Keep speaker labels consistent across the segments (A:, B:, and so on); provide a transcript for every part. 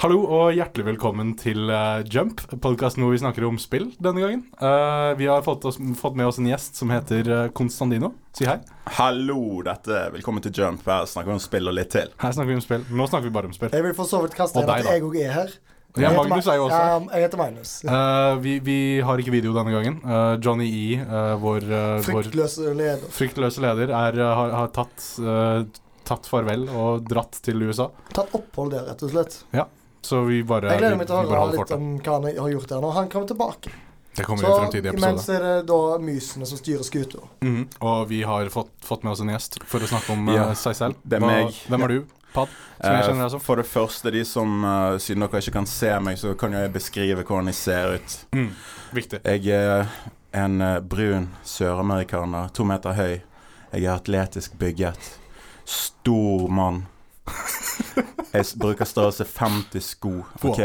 A: Hallo og hjertelig velkommen til eh, Jump, podkasten hvor vi snakker om spill denne gangen. Eh, vi har fått, oss, fått med oss en gjest som heter eh, Konstantino. Si hei.
B: Hallo, dette er Velkommen til Jump. Her snakker vi om spill og litt til.
A: Her snakker vi om spill. Nå snakker vi bare om spill.
C: Jeg vil for så vidt kaste
A: Og
C: inn
A: deg,
C: at
A: da.
C: jeg òg er her.
A: Ja,
C: Jeg heter
A: Magnus
C: Ma-
A: er jo også her.
C: Ja, jeg heter Magnus.
A: Eh, vi, vi har ikke video denne gangen. Eh, Johnny E, eh, vår, eh, vår
C: Fryktløs leder.
A: fryktløse leder, er, eh, har, har tatt, eh, tatt farvel og dratt til USA.
C: Tatt opphold der, rett og slett.
A: Så vi bare,
C: Jeg
A: vi,
C: gleder
A: vi
C: meg til å
A: bare
C: høre
A: holder
C: litt
A: fortet.
C: om hva han har gjort der når han kommer tilbake.
A: Det kommer i en
C: Så
A: fremtidig episode.
C: imens er det da mysene som styrer skuta.
A: Mhm, Og vi har fått, fått med oss en gjest for å snakke om
B: Ja,
A: eh, seg selv.
B: det er
A: Hva-
B: meg.
A: Hvem er du, Pad? Som jeg altså.
B: Eh,
A: kjenner deg som.
B: For det første, de som eh, Siden dere ikke kan se meg, så kan jo jeg beskrive hvordan jeg ser ut.
A: Mm, viktig.
B: Jeg er en eh, brun søramerikaner, to meter høy. Jeg er atletisk bygget. Stor mann. Jeg s- bruker størrelse 50 sko, OK?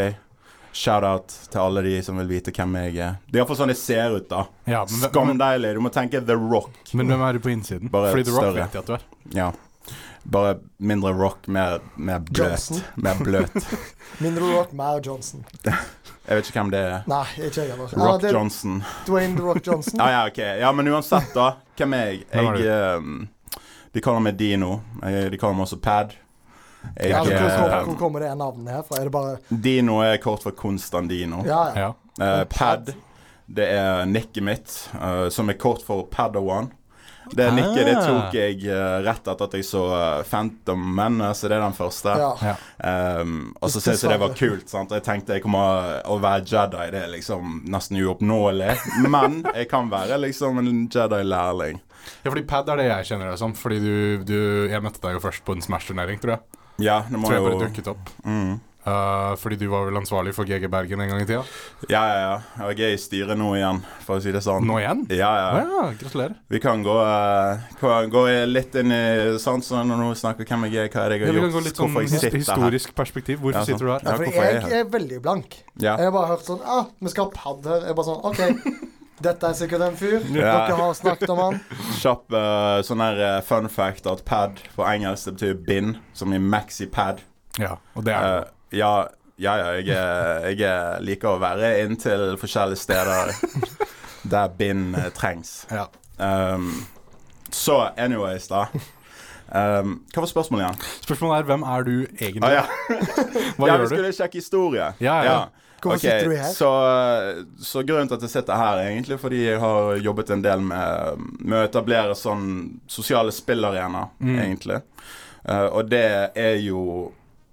B: Shout-out til alle de som vil vite hvem jeg er. Det er iallfall sånn jeg ser ut, da.
A: Ja, men, hvem-
B: Skamdeilig. Du må tenke The Rock.
A: men hvem er du på innsiden?
B: Bare
A: Fordi The Rock
B: større.
A: vet jeg at du er.
B: Ja. Bare mindre rock, mer, mer bløt.
C: Johnson.
B: Mer bløt.
C: Mindre rock, mer Johnson.
B: Jeg vet ikke hvem det er.
C: Nei, ikke jeg heller. Ja,
B: Rock
C: det er
B: Johnson.
C: Dwayne The Rock Johnson.
B: Ja, ja, ok. Ja, men uansett, da. Hvem er jeg?
A: Hvem er
B: jeg ehm, de kaller meg Dino. Jeg, de kaller meg også Pad. Jeg,
C: Altså, hvor, kommer- hvor
B: ehm,
C: kommer det navnet her fra? Er det bare
B: Dino er kort for Konstandino.
C: Ja, ja.
A: Ja.
B: Eh, pad, det er nikket mitt, eh, som er kort for Padawan. Det
A: Ah.
B: nikket det tok jeg eh, rett etter at jeg så eh, Phantom Menace, det er den første.
C: ja.
A: ja.
B: Ehm, og så syntes jeg det var kult. sant? Jeg tenkte jeg kommer å være Jedi. Det er liksom nesten uoppnåelig. Men jeg kan være liksom en Jedi-lærling.
A: ja, fordi Pad er det jeg kjenner deg som. Fordi du, du Jeg møtte deg jo først på en Smash-turnering, tror jeg.
B: Ja, det må
A: Tror jeg
B: jo
A: bare dukket opp.
B: mm.
A: Eh, fordi du var vel ansvarlig for GG Bergen en gang i tida.
B: Ja, ja, ja. Og jeg er i styret nå igjen, for å si det sånn.
A: Nå igjen?
B: Ja,
A: Å
B: ja.
A: ja, gratulerer.
B: Vi kan gå, eh, kan gå litt inn i sånn som når noen snakker hvem jeg er, hva er det jeg
A: Ja,
B: har
A: vi kan
B: gjort,
A: gå litt sånn
B: hvorfor jeg
A: his-
B: sitter her.
A: historisk perspektiv. Hvorfor
B: Ja, sånn.
A: sitter du her?
C: ja
B: Ja,
C: fordi
B: hvorfor er jeg
C: jeg er veldig blank.
B: Ja.
C: Jeg har bare hørt sånn ah, vi skal ha pad her. Jeg bare sånn OK, dette er sikkert en fyr.
B: Ja.
C: Dere har snakket om han.
B: Kjapp eh, sånn her eh, fun fact at pad på engelsk det betyr bind, som i maxi-pad.
A: Ja, og det er
B: Eh, ja, ja, ja jeg, er- jeg er- liker å være inntil forskjellige steder der bind eh, trengs.
A: ja.
B: Um, så anyways, da. Um, hva var spørsmålet igjen?
A: Spørsmålet er hvem er du egentlig?
B: Å ja.
A: Hva
B: Ah, ja, vi
A: gjør du?
B: skulle sjekke historie.
A: Ja, ja.
C: Hvorfor
B: Ok,
C: sitter du her?
B: Så, så grunnen til at jeg sitter her, er egentlig fordi jeg har jobbet en del med, med å etablere sånn sosiale spillarenaer,
A: Mm.
B: egentlig. Eh, og det er jo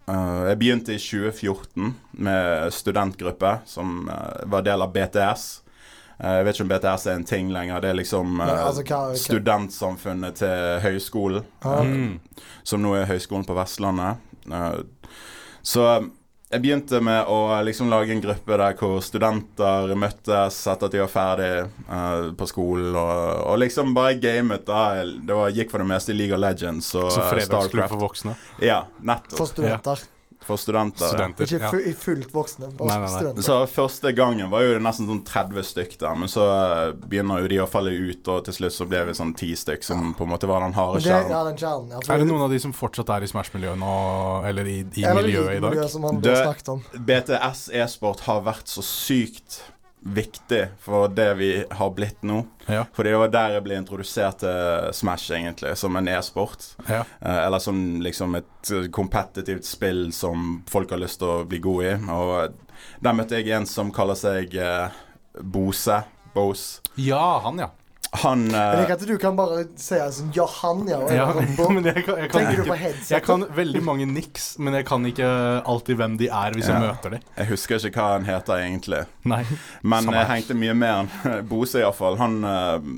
B: eh, Jeg begynte i 2014 med studentgruppe som eh, var del av BTS. Eh, jeg vet ikke om BTS er en ting lenger. Det er liksom eh,
C: Nei, altså, hva- hva-
B: studentsamfunnet til høyskolen
C: Ah, ok.
A: Mm.
B: som nå er Høgskolen på Vestlandet. Eh, Så eh, jeg begynte med å liksom lage en gruppe der hvor studenter møttes etter at de var ferdig eh, på skolen, og, og liksom bare gamet. da. Det var, gikk for det meste i League of Legends og
A: Så
B: eh,
A: fredagsklubb
B: Starcraft.
A: for voksne.
B: Ja, nettopp.
C: For studenter.
B: For studenter. ja.
A: Studenter.
C: Ikke
A: ja.
C: fu i fullt voksne. Bare
A: Nei, nei, nei.
C: studenter.
B: Så første gangen var jo det nesten sånn 30 stykk der, men så eh, begynner jo de å falle ut, og til slutt så ble vi sånn ti stykk som på en måte var den harde
C: Men det,
B: kjernen.
C: ja, den kjernen. Ja, for-
A: Er det noen av de som fortsatt er i Smash-miljøet nå, eller i, i
C: Eller
A: miljøet i dag?
C: miljøet som han
B: Det-
C: snakket om.
B: BTS e-sport har vært så sykt viktig for det vi har blitt nå.
A: Ja,
B: Fordi det var der jeg ble introdusert til Smash, egentlig, som en e-sport.
A: ja.
B: Eh, Eller som liksom et eh, kompetitivt spill som folk har lyst til å bli god i. Og eh, der møtte jeg en som kaller seg eh, Bose. Bose.
A: ja, han, ja.
B: Han eh,
C: Jeg liker at du kan bare si sånn Ja, han, ja. Og jeg
A: ja
C: bare sånn, «Bom».
A: men jeg kan, jeg kan
C: Tenker du på
A: ikke
C: headset?
A: jeg kan veldig mange niks, men jeg kan ikke alltid hvem de er hvis jeg
B: Ja.
A: møter dem.
B: Jeg husker ikke hva han heter egentlig.
A: Nei.
B: Men
A: Samme
B: jeg
A: her.
B: hengte mye med han. Bose, iallfall. Han eh,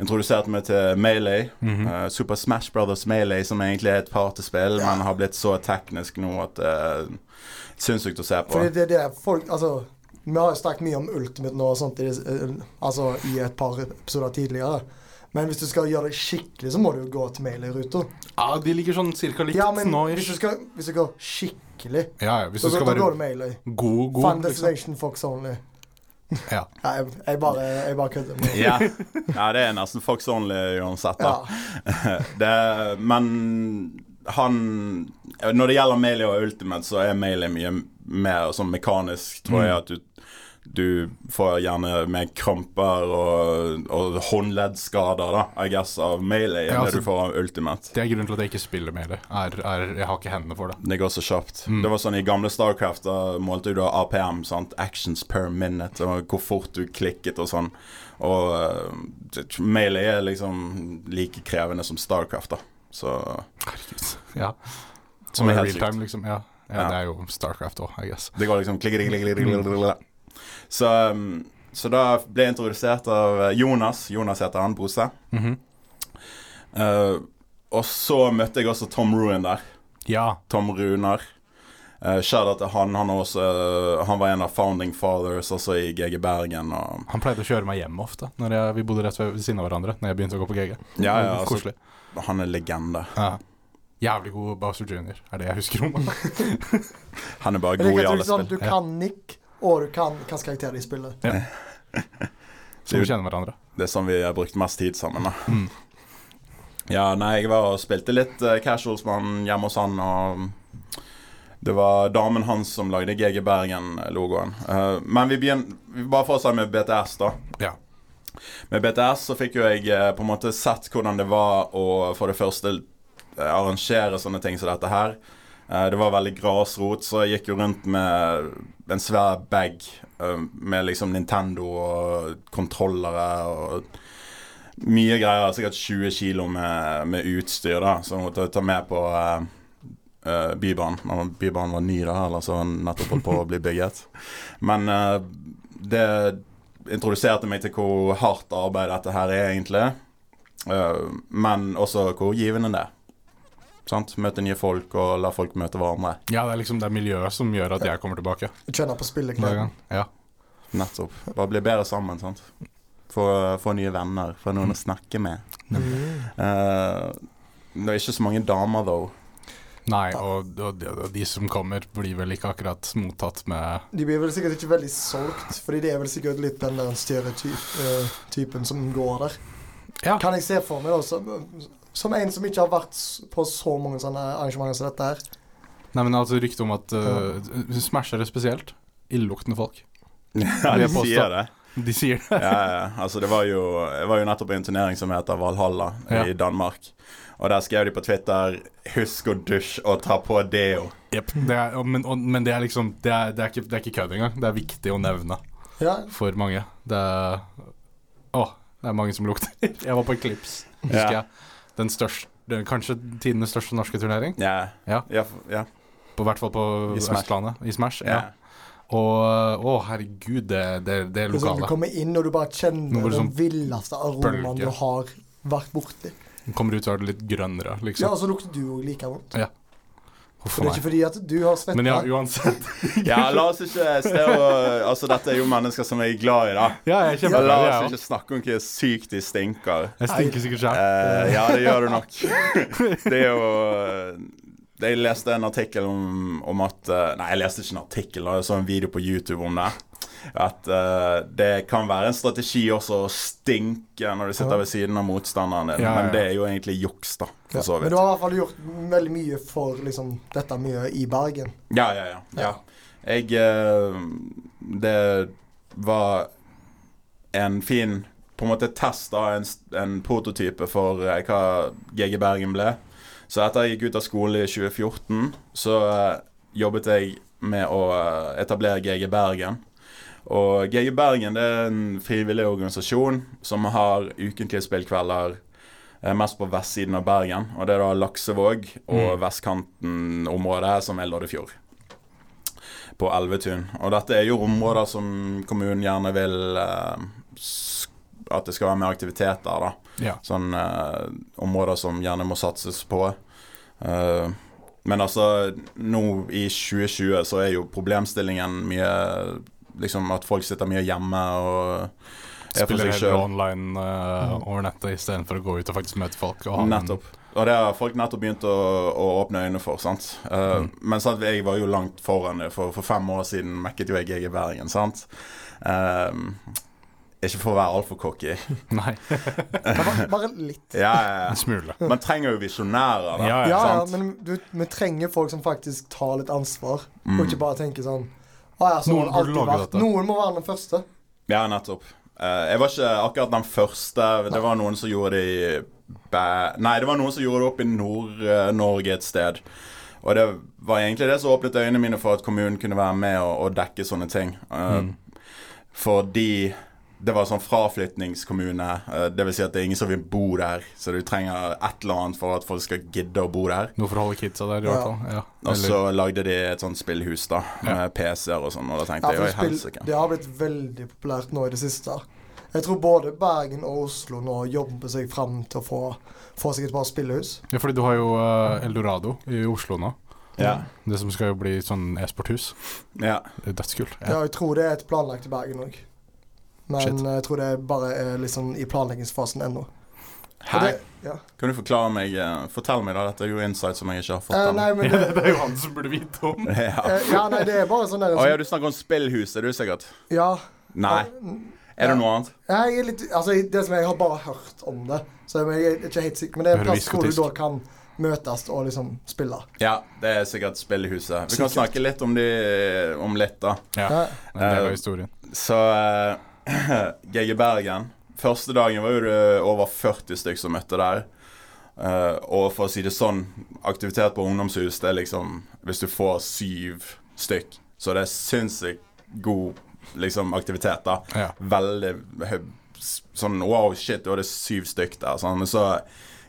B: introduserte meg til Melee.
A: Mm. Mhm.
B: eh, Super Smash Brothers Melee, som egentlig er et partyspill, men har blitt så teknisk nå at det er sinnssykt å se på.
C: Fordi det er det folk Altså, vi har jo snakket mye om Ultimate nå og sånt i, dis- eh, altså, i et par episoder tidligere. Men hvis du skal gjøre det skikkelig, så må du jo gå til mailerruta.
A: Ja, de ligger sånn cirka likt
C: Ja, men
A: nå.
C: hvis du
A: ish.
C: skal, hvis du går skikkelig,
A: Ja, ja, hvis
C: så
A: du
C: går,
A: skal
C: da går
A: være
C: du mailer.
A: god,
C: Fan
A: god liksom.
C: destination fox only.
A: Ja.
C: Nei, jeg, jeg bare, jeg bare kødder. med det.
B: ja. ja, det er nesten Fox Only uansett, da.
C: Ja.
B: det, men han Når det gjelder Melee og Ultimate, så er Melee mye mer sånn mekanisk, tror jeg.
A: Mm.
B: At du, du får gjerne mer kramper og, og håndleddskader, da, I guess, av melee enn
A: Ja, altså-
B: det du får av ultimate.
A: Det er grunnen til at jeg ikke spiller mer. Er, er, jeg har ikke hendene for det.
B: Det går så kjapt.
A: Mm.
B: Det var sånn I gamle Starcraft da målte du da APM, sant? actions per minute, og hvor fort du klikket og sånn. Og eh, melee er liksom like krevende som Starcraft, da. Så
A: Herregud. Ja.
B: Som
A: Som
B: er
A: i
B: helt
A: real
B: sykt.
A: time, liksom. Ja. ja,
B: Ja.
A: det er jo Starcraft òg, I guess.
B: Det går liksom klikk, klikk, klikk, klikk, klikk, klikk. Så, um, så da ble jeg introdusert av eh, Jonas. Jonas heter han, Brose.
A: Mhm.
B: Eh, og så møtte jeg også Tom Ruin der.
A: Ja.
B: Tom Runar. Uh, Shadow til han. Han, er også, eh, han var en av founding fathers også i GG Bergen. Og,
A: Han pleide å kjøre meg hjem ofte, når jeg, vi bodde rett ved ved siden av hverandre. Når jeg begynte å gå på GG.
B: ja, ja, altså,
A: Koselig.
B: han er legende.
A: Ja. Jævlig god Bowser Jr., er det jeg husker om han.
B: Han er bare
C: Jeg
B: god
C: liker
B: i
C: at du,
B: alle
C: liksom,
B: spill.
C: du kan nikk, og du kan hvilken karakter de spiller.
A: Som kjenner hverandre.
B: Det er sånn vi har brukt mest tid sammen. da
A: Mm.
B: Ja, nei, jeg var og spilte litt eh, casuals med han hjemme hos han, og det var damen hans som lagde GG Bergen-logoen. Eh, men vi begynner Bare for å si med BTS, da.
A: Ja.
B: Med BTS så fikk jo jeg eh, på en måte sett hvordan det var å for det første eh, arrangere sånne ting som dette her. Eh, Det var veldig grasrot, så jeg gikk jo rundt med en svær bag eh, med liksom Nintendo og kontrollere og mye greier. Sikkert 20 kilo med, med utstyr, da, som jeg måtte ta med på eh, eh, Bybanen. Når Bybanen var ny, da, eller så var den nettopp holdt på å bli bygget. Men eh, det introduserte meg til hvor hardt arbeid dette her er, egentlig. Eh, men også hvor givende det er. Sant? Møte nye folk og la folk møte hverandre.
A: ja, det er liksom det miljøet som gjør at jeg kommer tilbake.
C: Du kjenner på
A: hver
C: spillegleden.
A: gang. Ja.
B: Nettopp. Bare bli bedre sammen, sant. Få, få nye venner, få noen å snakke med.
C: Mm.
B: Eh, det er ikke så mange damer, though.
A: Nei, og, og, de, og de som kommer, blir vel ikke akkurat mottatt med
C: De blir vel sikkert ikke veldig solgt, fordi det er vel sikkert litt den der stereotypen som går der.
A: Ja.
C: Kan jeg se for meg da, som, som en som ikke har vært s- på så mange sånne arrangementer som dette her.
A: Nei, men altså ryktet om at uh, smashere spesielt. Illeluktende folk.
B: Ja,
A: Vil
B: de
A: jeg påstå.
B: sier det.
A: De sier det.
B: Ja, ja. Altså, det var jo, jeg var jo nettopp i en turnering som heter Valhalla
A: Ja.
B: i Danmark. Og der skrev de på Twitter 'Husk å dusje og ta på deo'.
A: Jep. Det er, og, men, og, men det er liksom Det er, det er ikke, det er ikke kødd engang. Det er viktig å nevne
C: Ja,
A: for mange. Det er Å, det er mange som lukter. Jeg var på Eclipse, husker
B: Ja.
A: jeg. Den største den, Kanskje tidenes største norske turnering.
B: Ja.
A: Ja.
B: Ja, f- ja.
A: På hvert fall på
B: I Smash.
A: Østlandet. I Smash.
B: ja.
A: Ja. Og å, herregud, det, det, det
C: det er sånn, du
A: lokale.
C: kommer inn og du bare
A: Nå
C: kjenner
A: går det
C: den
A: sånn
C: villeste aromaen
A: bølge.
C: du har vært borti.
A: Kommer ut, så er det litt grønnere,
C: Ja,
A: liksom.
C: og så lukter du òg like vondt.
A: Huff a
C: For det
A: meg.
C: er ikke fordi at du har svetta.
A: Men ja, uansett.
B: Ja, la oss ikke stereo... Altså, dette er jo mennesker som jeg er glad i, da.
A: Ja, jeg er
B: Men la
A: kjempeglad,
B: oss
A: jeg òg.
B: ikke snakke om hvor sykt de stinker.
A: Jeg stinker sikkert sjæl.
B: Eh, ja, det gjør du nok. Det er jo eh, Jeg leste en artikkel om, om at eh, Nei, jeg leste ikke en artikkel, da, jeg så en video på YouTube om det. At eh, det kan være en strategi også å stinke når du
C: Ja.
B: sitter ved siden av motstanderen din,
A: Ja, ja, ja.
B: men det er jo egentlig juks, da. For så
C: Ja, Men
B: vidt.
C: du har i hvert fall gjort veldig mye for liksom, dette miljøet i Bergen.
B: Ja, ja, ja. ja. Jeg eh, Det var en fin på en måte test av en, en prototype for eh, hva GG Bergen ble. Så etter jeg gikk ut av skole i 2014, så eh, jobbet jeg med å eh, etablere GG Bergen. Og GG Bergen det er en frivillig organisasjon som har ukentlige spillkvelder eh, mest på vestsiden av Bergen. Og det er da Laksevåg og
A: Mm.
B: vestkanten-området som er Loddefjord. På Elvetun. Og dette er jo områder som kommunen gjerne vil eh, s- at det skal være mer aktivitet der, da.
A: Ja.
B: Sånn eh, områder som gjerne må satses på. Eh, men altså, nå i 2020 så er jo problemstillingen mye Liksom at folk sitter mye hjemme og er for
A: Spiller
B: seg
A: heller
B: sjøl.
A: online eh,
C: Mm.
A: over nettet istedenfor å gå ut og faktisk møte folk. Og ha en-
B: Nettopp. Og det har folk nettopp begynt å, å åpne øynene for. sant? Eh,
A: Mm.
B: Men sant, jeg var jo langt foran det, for for fem år siden mekket jo jeg GG Bergen. sant? Eh, Ikke for å være altfor cocky.
A: Nei,
C: Men bare, bare litt.
B: Ja, ja,
A: en
B: ja.
A: smule.
B: Man trenger jo visjonærer.
A: Ja,
B: da.
A: ja.
C: Ja, ja,
B: sant.
C: men du, vi trenger folk som faktisk tar litt ansvar,
B: Mm.
C: og ikke bare tenker sånn Å ja, så
A: Noen
C: må det
A: burde
C: alltid
A: lage
C: være.
A: dette.»
C: Noen må være den første.
B: Ja, nettopp. Eh, jeg var ikke akkurat den første. Det var noen som gjorde det i Bæ... Nei, det var noen som gjorde det opp i Nord-Norge et sted. Og det var egentlig det som åpnet øynene mine for at kommunen kunne være med og, og dekke sånne ting. Eh,
C: Mm.
B: Fordi det var sånn fraflytningskommune. eh, det vil si at det er ingen som vil bo der, så du trenger et eller annet for at folk skal gidde å bo der.
A: Noe for å holde kidsa der, i
C: Ja.
A: hvert fall. Ja.
B: Og
A: Eller-
B: så lagde de et sånt spillhus, da,
A: Ja.
B: med PC-er og sånn, og da
C: Ja,
B: tenkte
C: for
B: jeg jo
C: spill,
B: helsike.
C: det har blitt veldig populært nå i det siste. Jeg tror både Bergen og Oslo nå jobber seg fram til å få, få seg et par spillehus.
A: ja, fordi du har jo eh, Eldorado i Oslo nå.
B: Ja.
A: Det som skal jo bli sånn e-sporthus.
B: ja.
A: Det er Dødskult.
C: Ja.
A: Ja.
C: jeg tror det er et planlagt i Bergen òg. Men
A: Shit.
C: jeg tror det bare er liksom i planleggingsfasen ennå. Og
B: Hæ?
C: det- Ja.
B: Kan du forklare meg eh, Fortell meg, da. Dette er jo insight som jeg ikke har fått.
C: Eh,
B: ennå.
C: nei, men det,
A: Det er jo han som burde vite om.
B: ja.
C: eh, ja, nei, det er bare sånn der
B: Å ja, du snakker om spillhus, er du sikkert?
C: Ja.
B: Nei. Er det noe annet?
C: Ja, Jeg er litt, altså, det som jeg har bare hørt om det, så jeg er ikke helt sikker. Men det er en
A: Hører du
C: plass hvor du
A: diskotisk?
C: da kan møtes og liksom spille.
B: Ja, det er sikkert spillhuset. Vi kan
C: Sikkert.
B: snakke litt om de eh, om litt, da.
A: Ja,
C: Ja.
A: det er jo historien.
B: Så eh, GG Bergen. Første dagen var jo det over 40 stykk som møtte der. Eh, og for å si det sånn, aktivitet på ungdomshus, det er liksom Hvis du får syv stykk, så det er sinnssykt god liksom, aktivitet, da.
A: Ja.
B: veldig hø- s- sånn Wow, shit, du hadde syv stykk der. Sånn. Men så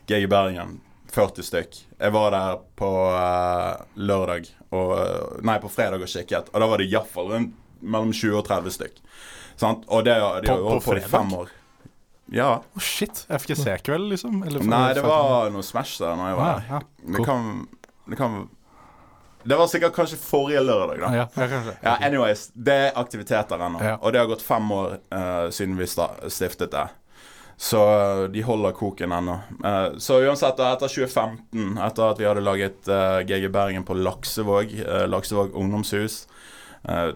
B: GG Bergen, 40 stykk. Jeg var der på eh, lørdag og eh, Nei, på fredag og kikket, og da var det iallfall rundt mellom 20 og 30 stykk. Sant? Og det, de
A: På-
B: har jo
A: på
B: holdt på i
A: fredag?
B: fem år. Ja.
A: Å, shit. FGC-kveld, liksom? Eller
B: Nei, det var noe Smash der når jeg var
A: ja,
B: der.
A: Ah, ja.
B: Det kan, det kan Det var sikkert kanskje forrige lørdag, da.
A: Ja, ja, kanskje.
B: Ja, anyways, det er aktiviteter ennå.
A: Ja.
B: Og det har gått fem år eh, siden vi sta stiftet det. Så eh, de holder koken ennå. Eh, så uansett, da, etter 2015, etter at vi hadde laget eh, GG Bergen på Laksevåg, eh, Laksevåg ungdomshus, eh,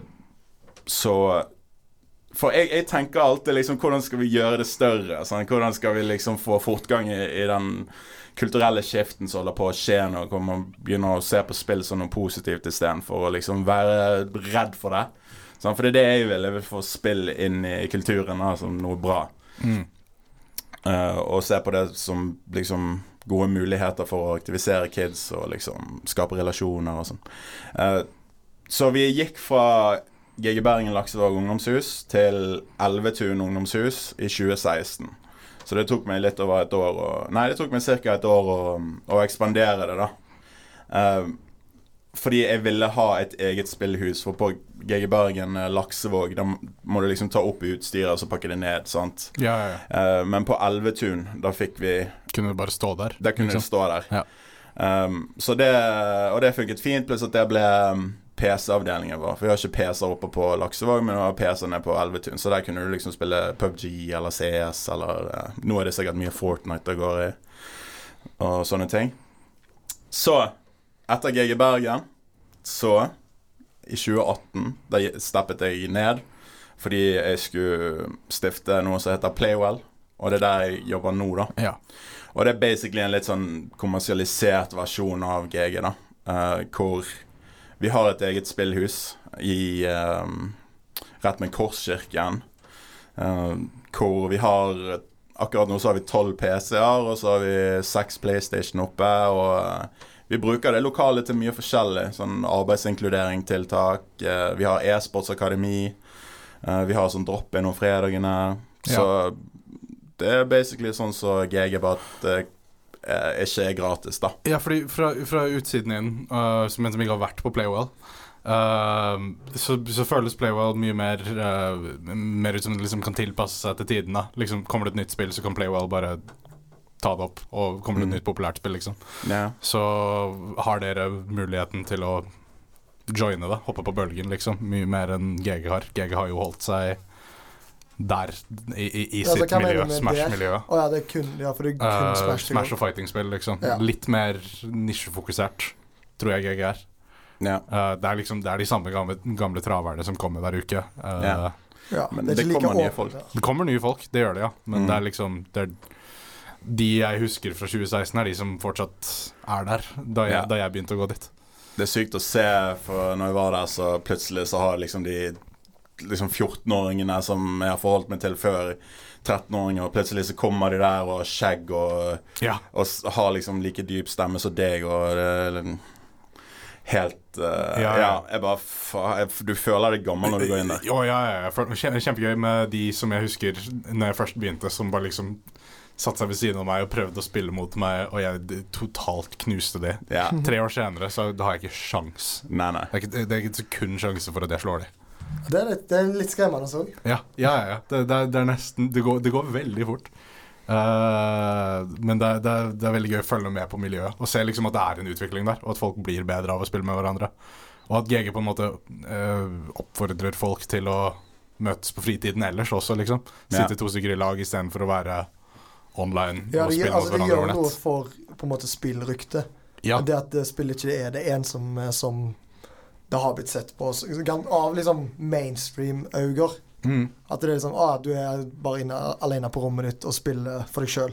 B: så For jeg, jeg tenker alltid liksom Hvordan skal vi gjøre det større? Sånn? Hvordan skal vi liksom få fortgang i, i den kulturelle skiften som holder på å skje nå, hvor man begynner å se på spill som noe positivt istedenfor å liksom være redd for det. Sånn, for det er det jeg vil. Jeg vil få spill inn i kulturen da, som noe bra.
A: Mm.
B: Eh, og se på det som liksom gode muligheter for å aktivisere kids og liksom skape relasjoner og sånn. Eh, så vi gikk fra GG Bergen Laksevåg ungdomshus til Elvetun ungdomshus i 2016. Så det tok meg litt over et år å Nei, det tok meg ca. et år å, å ekspandere det, da. Eh, fordi jeg ville ha et eget spillhus, for på GG Bergen eh, Laksevåg da må du liksom ta opp utstyret og så pakke det ned, sant.
A: Ja, ja, ja.
B: Eh, men på Elvetun, da fikk vi
A: Kunne du bare stå der?
B: Der kunne
A: Ikke
B: det
A: sant?
B: stå der.
A: Ja.
B: Um, så det, og det funket fint, pluss at det ble um, PC-avdelingen vår. For vi har ikke PC-er oppe på Laksevåg, men vi har PC-er nede på Elvetun. Så der kunne du liksom spille PubG eller CS eller eh, Nå er det sikkert mye Fortnite det går i, og sånne ting. Så, etter GG Bergen, så I 2018, da steppet jeg ned fordi jeg skulle stifte noe som heter Playwell. Og det er der jeg jobber nå, da.
A: Ja.
B: Og det er basically en litt sånn kommersialisert versjon av GG, da. Eh, hvor vi har et eget spillhus i eh, rett med Korskirken. eh, hvor vi har Akkurat nå så har vi tolv PC-er, og så har vi seks PlayStation oppe. Og eh, vi bruker det lokale til mye forskjellig. Sånn arbeidsinkluderingstiltak. eh, vi har e-sportsakademi. eh, vi har sånn drop-in om fredagene. Så det er basically sånn som GG, bare at det eh, ikke er gratis, da.
A: Ja, fordi fra, fra utsiden inn, øh, som en som ikke har vært på Playwell, øh, så, så føles Playwell mye mer, øh, mer ut som det liksom kan tilpasse seg til tiden. Da. Liksom, kommer det et nytt spill, så kan Playwell bare ta det opp. Og kommer det
B: Mm.
A: et nytt populært spill, liksom.
B: Ja.
A: Så har dere muligheten til å joine det, hoppe på bølgen, liksom. Mye mer enn GG har. GG har jo holdt seg der, i, i, i
C: Ja, så
A: sitt
C: hva mener
A: miljø,
C: du med
A: Smash-miljøet.
C: Å ja, det er kun, ja, for det er kun
A: Eh,
C: Smash.
A: Smash,
C: det går.
A: og fighting-spill, liksom.
C: Ja.
A: Litt mer nisjefokusert, tror jeg GG er.
B: Ja.
A: Eh, det er liksom det er de samme gamle, gamle traverne som kommer hver uke. Eh,
B: Ja.
C: Ja,
B: Men
C: er
B: det
C: ikke like
B: kommer nye
C: åpent
B: folk.
C: der.
A: Det kommer nye folk, det gjør det, ja. Men
B: Mm.
A: det er liksom det er De jeg husker fra 2016, er de som fortsatt er der, da jeg,
B: Ja.
A: da jeg begynte å gå dit.
B: Det er sykt å se, for når jeg var der, så plutselig så har liksom de liksom 14-åringene som jeg har forholdt meg til før, 13-åringer, og plutselig så kommer de der og har skjegg og,
A: Ja.
B: og s- har liksom like dyp stemme som deg, og det er liksom helt eh,
A: Ja,
B: ja,
A: ja.
B: jeg bare fa- jeg, Du føler deg gammel når du går inn der.
A: Å, ja, ja, ja. For- kjem- Kjempegøy med de som jeg husker når jeg først begynte, som bare liksom satte seg ved siden av meg og prøvde å spille mot meg, og jeg d- totalt knuste de.
B: Ja.
A: Tre år senere så da har jeg ikke sjans.
B: Nei, nei.
A: Det er ikke, det er ikke et sekund sjanse for at jeg slår de.
C: Det er litt, det er litt skremmende òg.
A: Ja, ja, ja. ja. Det, det, er- det er nesten Det går, det går veldig fort. Eh, men det, er- det, er- det er veldig gøy å følge med på miljøet og se liksom at det er en utvikling der, og at folk blir bedre av å spille med hverandre. Og at GG på en måte eh, oppfordrer folk til å møtes på fritiden ellers også, liksom.
B: Ja.
A: Sitte to stykker i lag istedenfor å være online
C: Ja,
A: og
C: det,
A: spille mot
C: altså, det
A: hverandre
C: gjør
A: over
C: noe
A: nett.
C: for på en måte spillryktet.
A: Ja,
C: Det at det spillet ikke er det ensomme som det har blitt sett på så- av liksom mainstream-øyne.
A: mm,
C: At det er liksom ah, du er bare inne, alene på rommet ditt og spiller for deg sjøl.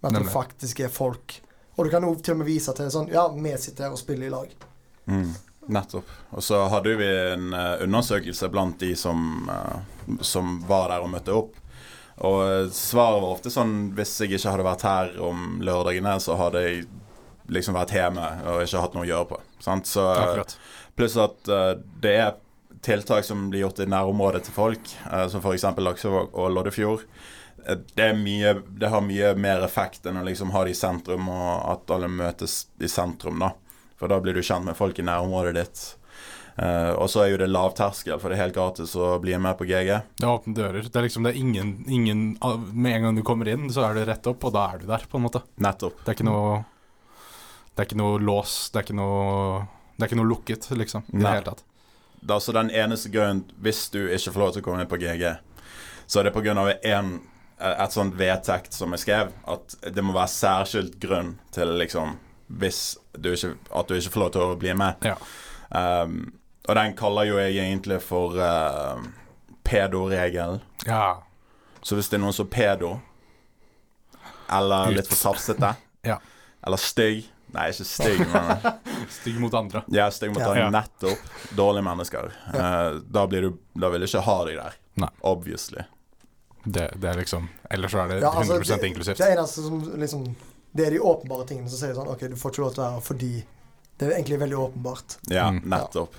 C: Men at
A: Nemlig.
C: det faktisk er folk. Og du kan jo til og med vise til sånn Ja, vi sitter her og spiller i lag.
B: Mm, nettopp. Og så hadde vi en eh, undersøkelse blant de som, eh, som var der og møtte opp. Og eh, svaret var ofte sånn Hvis jeg ikke hadde vært her om lørdagene, så hadde jeg liksom vært hjemme og ikke hatt noe å gjøre på. Sant? Så,
A: akkurat.
B: pluss at eh, det er tiltak som blir gjort i nærområdet til folk, eh, som f.eks. Laksevåg og Loddefjord. Eh, Det, er mye, det har mye mer effekt enn å liksom ha det i sentrum, og at alle møtes i sentrum, da. For da blir du kjent med folk i nærområdet ditt. Eh, og så er jo det lavterskel, for det er helt gratis å bli med på GG.
A: Det er åpne dører. Det er liksom det er ingen, ingen av- Med en gang du kommer inn, så er det rett opp, og da er du der, på en måte.
B: Nettopp.
A: Det er ikke noe Det er ikke noe lås, det er ikke noe Det er ikke noe lukket, liksom. I det
B: Nei.
A: hele tatt.
B: Det er altså den eneste grunnen, hvis du ikke får lov til å komme inn på GG, så er det pga. et sånt vedtekt som er skrevet, at det må være særskilt grunn til liksom hvis du ikke, at du ikke får lov til å bli med.
A: Ja.
B: Um, og den kaller jo jeg egentlig for uh, pedo-regelen.
A: Ja.
B: Så hvis det er noen som er pedo, eller
A: Ut.
B: litt for safsete,
A: Ja.
B: eller stygg Nei, ikke stygg, men
A: Stygg mot andre.
B: ja, stygg mot
C: Ja.
B: deg.
A: Ja.
B: Nettopp. Dårlige mennesker. Eh, da, blir du, da vil du ikke ha deg der.
A: Nei.
B: Obviously.
A: Det, det er liksom Ellers så er det
C: Ja, altså,
A: 100
C: det-
A: inklusivt.
C: Det eneste som liksom Det er de åpenbare tingene som sier sånn OK, du får ikke lov til å være her fordi Det er egentlig veldig åpenbart.
B: Ja,
A: Mm.
B: nettopp.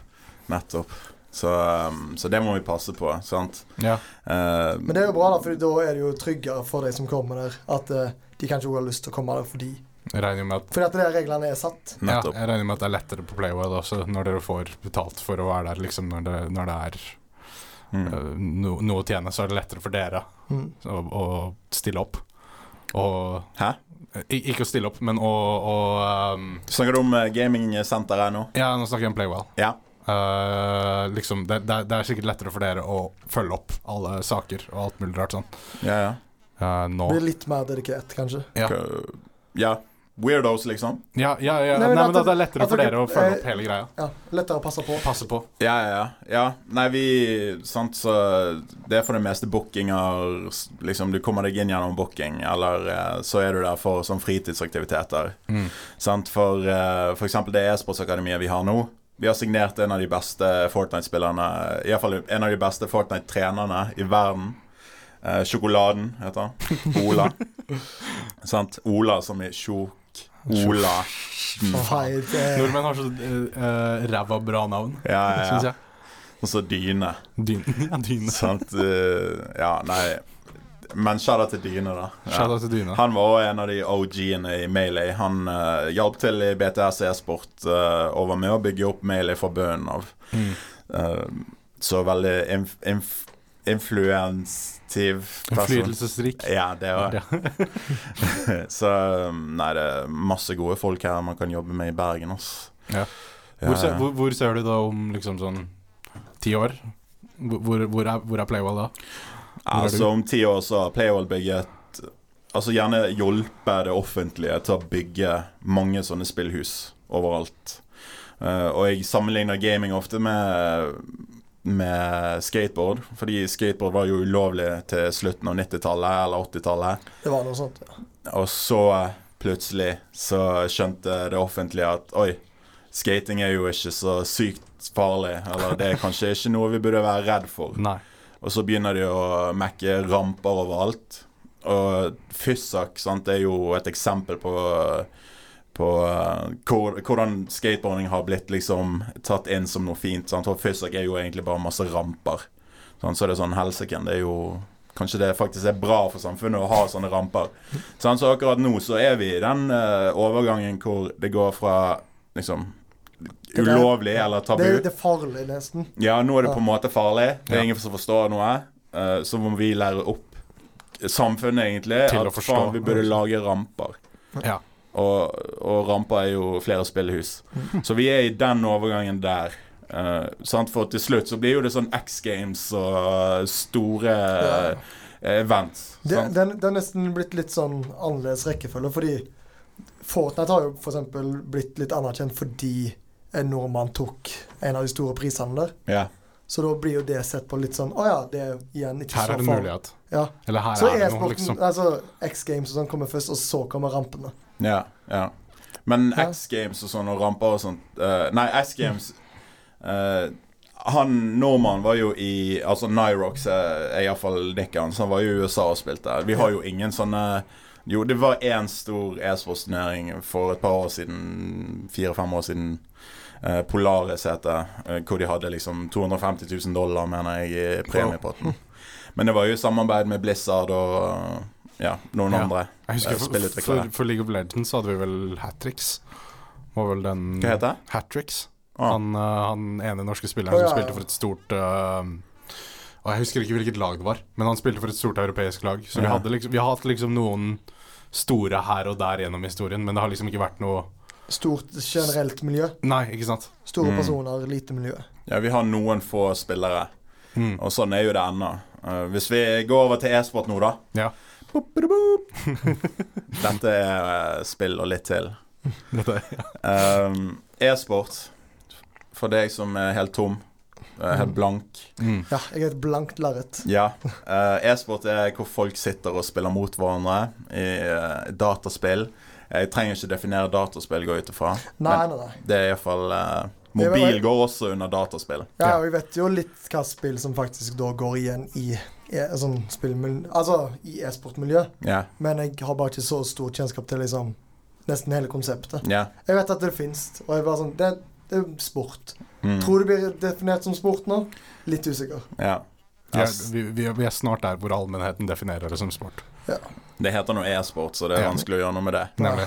B: Nettopp. Så, um, så det må vi passe på, sant?
A: Ja.
B: Eh,
C: Men det er jo bra, da, for da er det jo tryggere for de som kommer der, at eh, de kanskje også har lyst til å komme der fordi
A: Jeg regner jo med at
C: Fordi at de der reglene er satt.
A: ja,
B: Nettopp.
A: jeg regner med at det er lettere på Playwell også, når dere får betalt for å være der. liksom Når det, når det er
B: Mm.
A: øh, no, noe å tjene, så er det lettere for dere
C: Mm.
A: å, å stille opp. Og
B: Hæ?
A: Ik- Ikke å stille opp, men å, å ehm, øhm,
B: Snakker du om eh, gamingsenteret nå?
A: Ja, nå snakker jeg om Playwell.
B: Ja.
A: Eh, liksom, det, det, det er sikkert lettere for dere å følge opp alle saker og alt mulig rart sånn.
B: Ja, ja.
A: Eh, nå.
C: Blir litt mer dedikert, kanskje.
A: Ja.
B: K- ja. Weirdos, liksom?
A: Ja, ja, ja.
C: Nei,
A: Nei,
C: men
A: men
C: at
A: at det er
C: det-
A: lettere
C: at
A: for
C: dere-
A: dere å følge
C: eh,
A: opp hele greia.
C: Ja, Lettere å passe på.
A: Passe på.
B: Ja, ja, ja. ja. Nei, vi Sant, så det er for det meste bookinger s- Liksom, du kommer deg inn gjennom booking, eller eh, så er du der for sånn fritidsaktiviteter. Sant? For, eh, for eksempel det e-sportsakademiet vi har nå. Vi har signert en av de beste Fortnite-spillerne Iallfall en av de beste Fortnite-trenerne i verden. Eh, sjokoladen heter han. Ola. Sant? Ola som i tjok. Ola.
C: Hei, det er
A: Nordmenn har så eh, eh, ræva bra navn,
B: Ja, ja,
A: syns
B: ja.
A: jeg.
B: Og så dyne.
A: Dyn, ja, dyne.
B: Sant? Eh, ja, nei Men shout-out til dyne, da. Ja.
A: Shadow til dyna.
B: Han var også en av de OG-ene i Melee. Han eh, hjalp til i BTS e-sport eh, og var med å bygge opp Melee fra bunnen av.
A: Mm.
B: Eh, så veldig inf inf influensiv person.
A: Innflytelsesrik.
B: Ja, det var
A: Ja.
B: Så eh, nei, det er masse gode folk her man kan jobbe med i Bergen, ass.
A: Ja.
B: Ja,
A: Hvor, ser,
B: ja.
A: hvor, hvor ser du da om liksom sånn ti år? Hvor, hvor, hvor er, hvor er Playwell da? hvor er
B: altså, om ti år så har Playwall bygget Altså gjerne hjulpet det offentlige til å bygge mange sånne spillhus overalt. Eh, og jeg sammenligner gaming ofte med med skateboard. Fordi skateboard var jo ulovlig til slutten av 90-tallet eller 80-tallet.
C: Det var noe sånt.
B: Og så eh, plutselig så skjønte det offentlige at oi, skating er jo ikke så sykt farlig. Eller det er kanskje ikke noe vi burde være redd for.
A: Nei.
B: Og så begynner de å mekke ramper overalt. Og Fysak sant, er jo et eksempel på, på eh, hvor, hvordan skateboarding har blitt liksom tatt inn som noe fint. Sant? For Fysak er jo egentlig bare masse ramper. Sant? Så er det sånn helsike, det er jo Kanskje det faktisk er bra for samfunnet å ha sånne ramper. Sant? Så akkurat nå så er vi i den eh, overgangen hvor det går fra liksom
C: er-
B: ulovlig eller tabu
C: Det, det er farlig, nesten.
B: ja, nå er det på en måte farlig. Det
A: Ja.
B: er ingen som forstår noe. Eh, Så må vi lære opp samfunnet, egentlig.
A: Til å
B: at
A: forstå.
B: faen, vi burde lage ramper.
A: Ja.
B: Og, og ramper er jo flere spillehus.
C: Mm.
B: Så vi er i den overgangen der. Eh, sant? For til slutt så blir jo det sånn X Games og store
C: Ja.
B: eh, events.
C: Det,
B: sant?
C: den, det er nesten blitt litt sånn annerledes rekkefølge, fordi Fortnite har jo f.eks. blitt litt anerkjent fordi en nordmann tok en av de store prisene der.
B: Ja.
C: Så da blir jo det sett på litt sånn Å ja, det er igjen ikke
A: Her er
C: så
A: det en
C: farlig.
A: mulighet.
C: Ja.
A: Eller her
C: Så
A: er det noe,
C: e-sporten,
A: liksom.
C: altså X Games og sånn kommer først, og så kommer rampene.
B: Ja, ja. Men
C: Ja.
B: X Games og sånn og ramper og sånt eh, Nei, X Games eh, Han nordmannen var jo i Altså Nyrox eh, er iallfall nikkeren, så han var jo i USA og spilte. Vi har jo ingen sånne Jo, det var én stor e-sportsturnering for et par år siden, fire-fem år siden. eh, Polaris heter det, hvor de hadde liksom 250 000 dollar, mener jeg, i premiepotten. Men det var jo i samarbeid med Blizzard og eh, ja, noen
A: Ja.
B: andre.
A: Jeg
B: eh,
A: husker for,
B: spillutviklere.
A: for, for League of Legends så hadde vi vel Hat Tricks. Var vel den
B: Hva heter det?
A: Hat Tricks.
B: Ah.
A: Han, eh, han ene norske spilleren
C: Å, ja,
A: som
C: ja.
A: spilte for et stort eh, og Jeg husker ikke hvilket lag det var, men han spilte for et stort europeisk lag. Så vi,
B: Ja.
A: hadde liksom, vi har hatt liksom noen store her og der gjennom historien, men det har liksom ikke vært noe
C: Stort generelt miljø.
A: Nei, ikke sant?
C: Store
B: Mm.
C: personer, lite miljø.
B: Ja, vi har noen få spillere,
A: Mm.
B: og sånn er jo det ennå. Eh, hvis vi går over til e-sport nå, da.
A: Ja.
B: Dette er eh, spill og litt til.
A: Dette, ja.
B: Um, e-sport, for deg som er helt tom, eh, helt blank
A: Mm.
C: Ja, jeg er et blankt lerret.
B: Ja. eh, e-sport er hvor folk sitter og spiller mot hverandre i eh, dataspill. Jeg trenger ikke definere dataspill, går jeg ut ifra.
C: Nei,
B: Men
C: nei, nei.
B: det er iallfall uh,
C: Det var-
B: Mobil går også under dataspill.
C: Ja,
A: Ja.
C: og vi vet jo litt hva spill som faktisk da går igjen i, i sånn spillmiljø Altså i e-sportmiljø.
B: Ja.
C: Men jeg har bare ikke så stor kjennskap til liksom nesten hele konseptet.
B: ja.
C: Jeg vet at det fins, og jeg bare sånn Det, det er sport.
B: Mm.
C: Tror det blir definert som sport nå? Litt usikker.
B: ja.
A: Vi er, vi, vi, vi er snart der hvor allmennheten definerer det som sport.
B: Det heter nå e-sport, så det er
A: Ja.
B: vanskelig å gjøre noe med det.
A: Nemlig.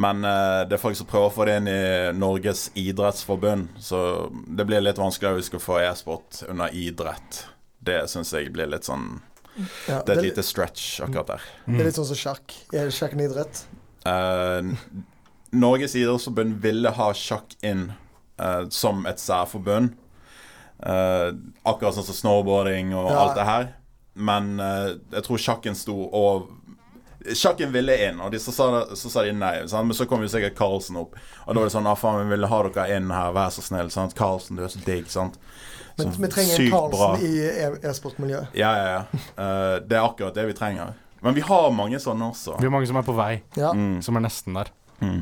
B: Men eh, det er folk som prøver å få det inn i Norges idrettsforbund, så det blir litt vanskeligere hvis vi skal få e-sport under idrett. Det syns jeg blir litt sånn
C: Ja,
B: Det er et lite stretch akkurat der.
C: det
A: Mm.
C: er litt sånn som sjakk. Er sjakk en idrett?
B: Eh, Norges idrettsforbund ville ha sjakk inn eh, som et særforbund. Eh, akkurat sånn som snowboarding og
C: Ja.
B: alt det her. Men eh, jeg tror sjakken sto og Sjakken ville inn, og de, så, sa, så sa de nei. Sant? Men så kom jo sikkert Carlsen opp. Og da var det sånn ah, faen, vi ville ha dere inn her, vær så snill. Sant? Carlsen, du er så digg, sant.
C: Men
B: Så
C: vi trenger en
B: Sånn sykt bra.
C: Carlsen i e- e-sportmiljøet.
B: Ja, ja, ja. Eh, det er akkurat det vi trenger. Men vi har mange sånne også.
A: Vi er mange som er på vei,
C: Ja.
B: Mm.
A: som er nesten der.
B: Mm.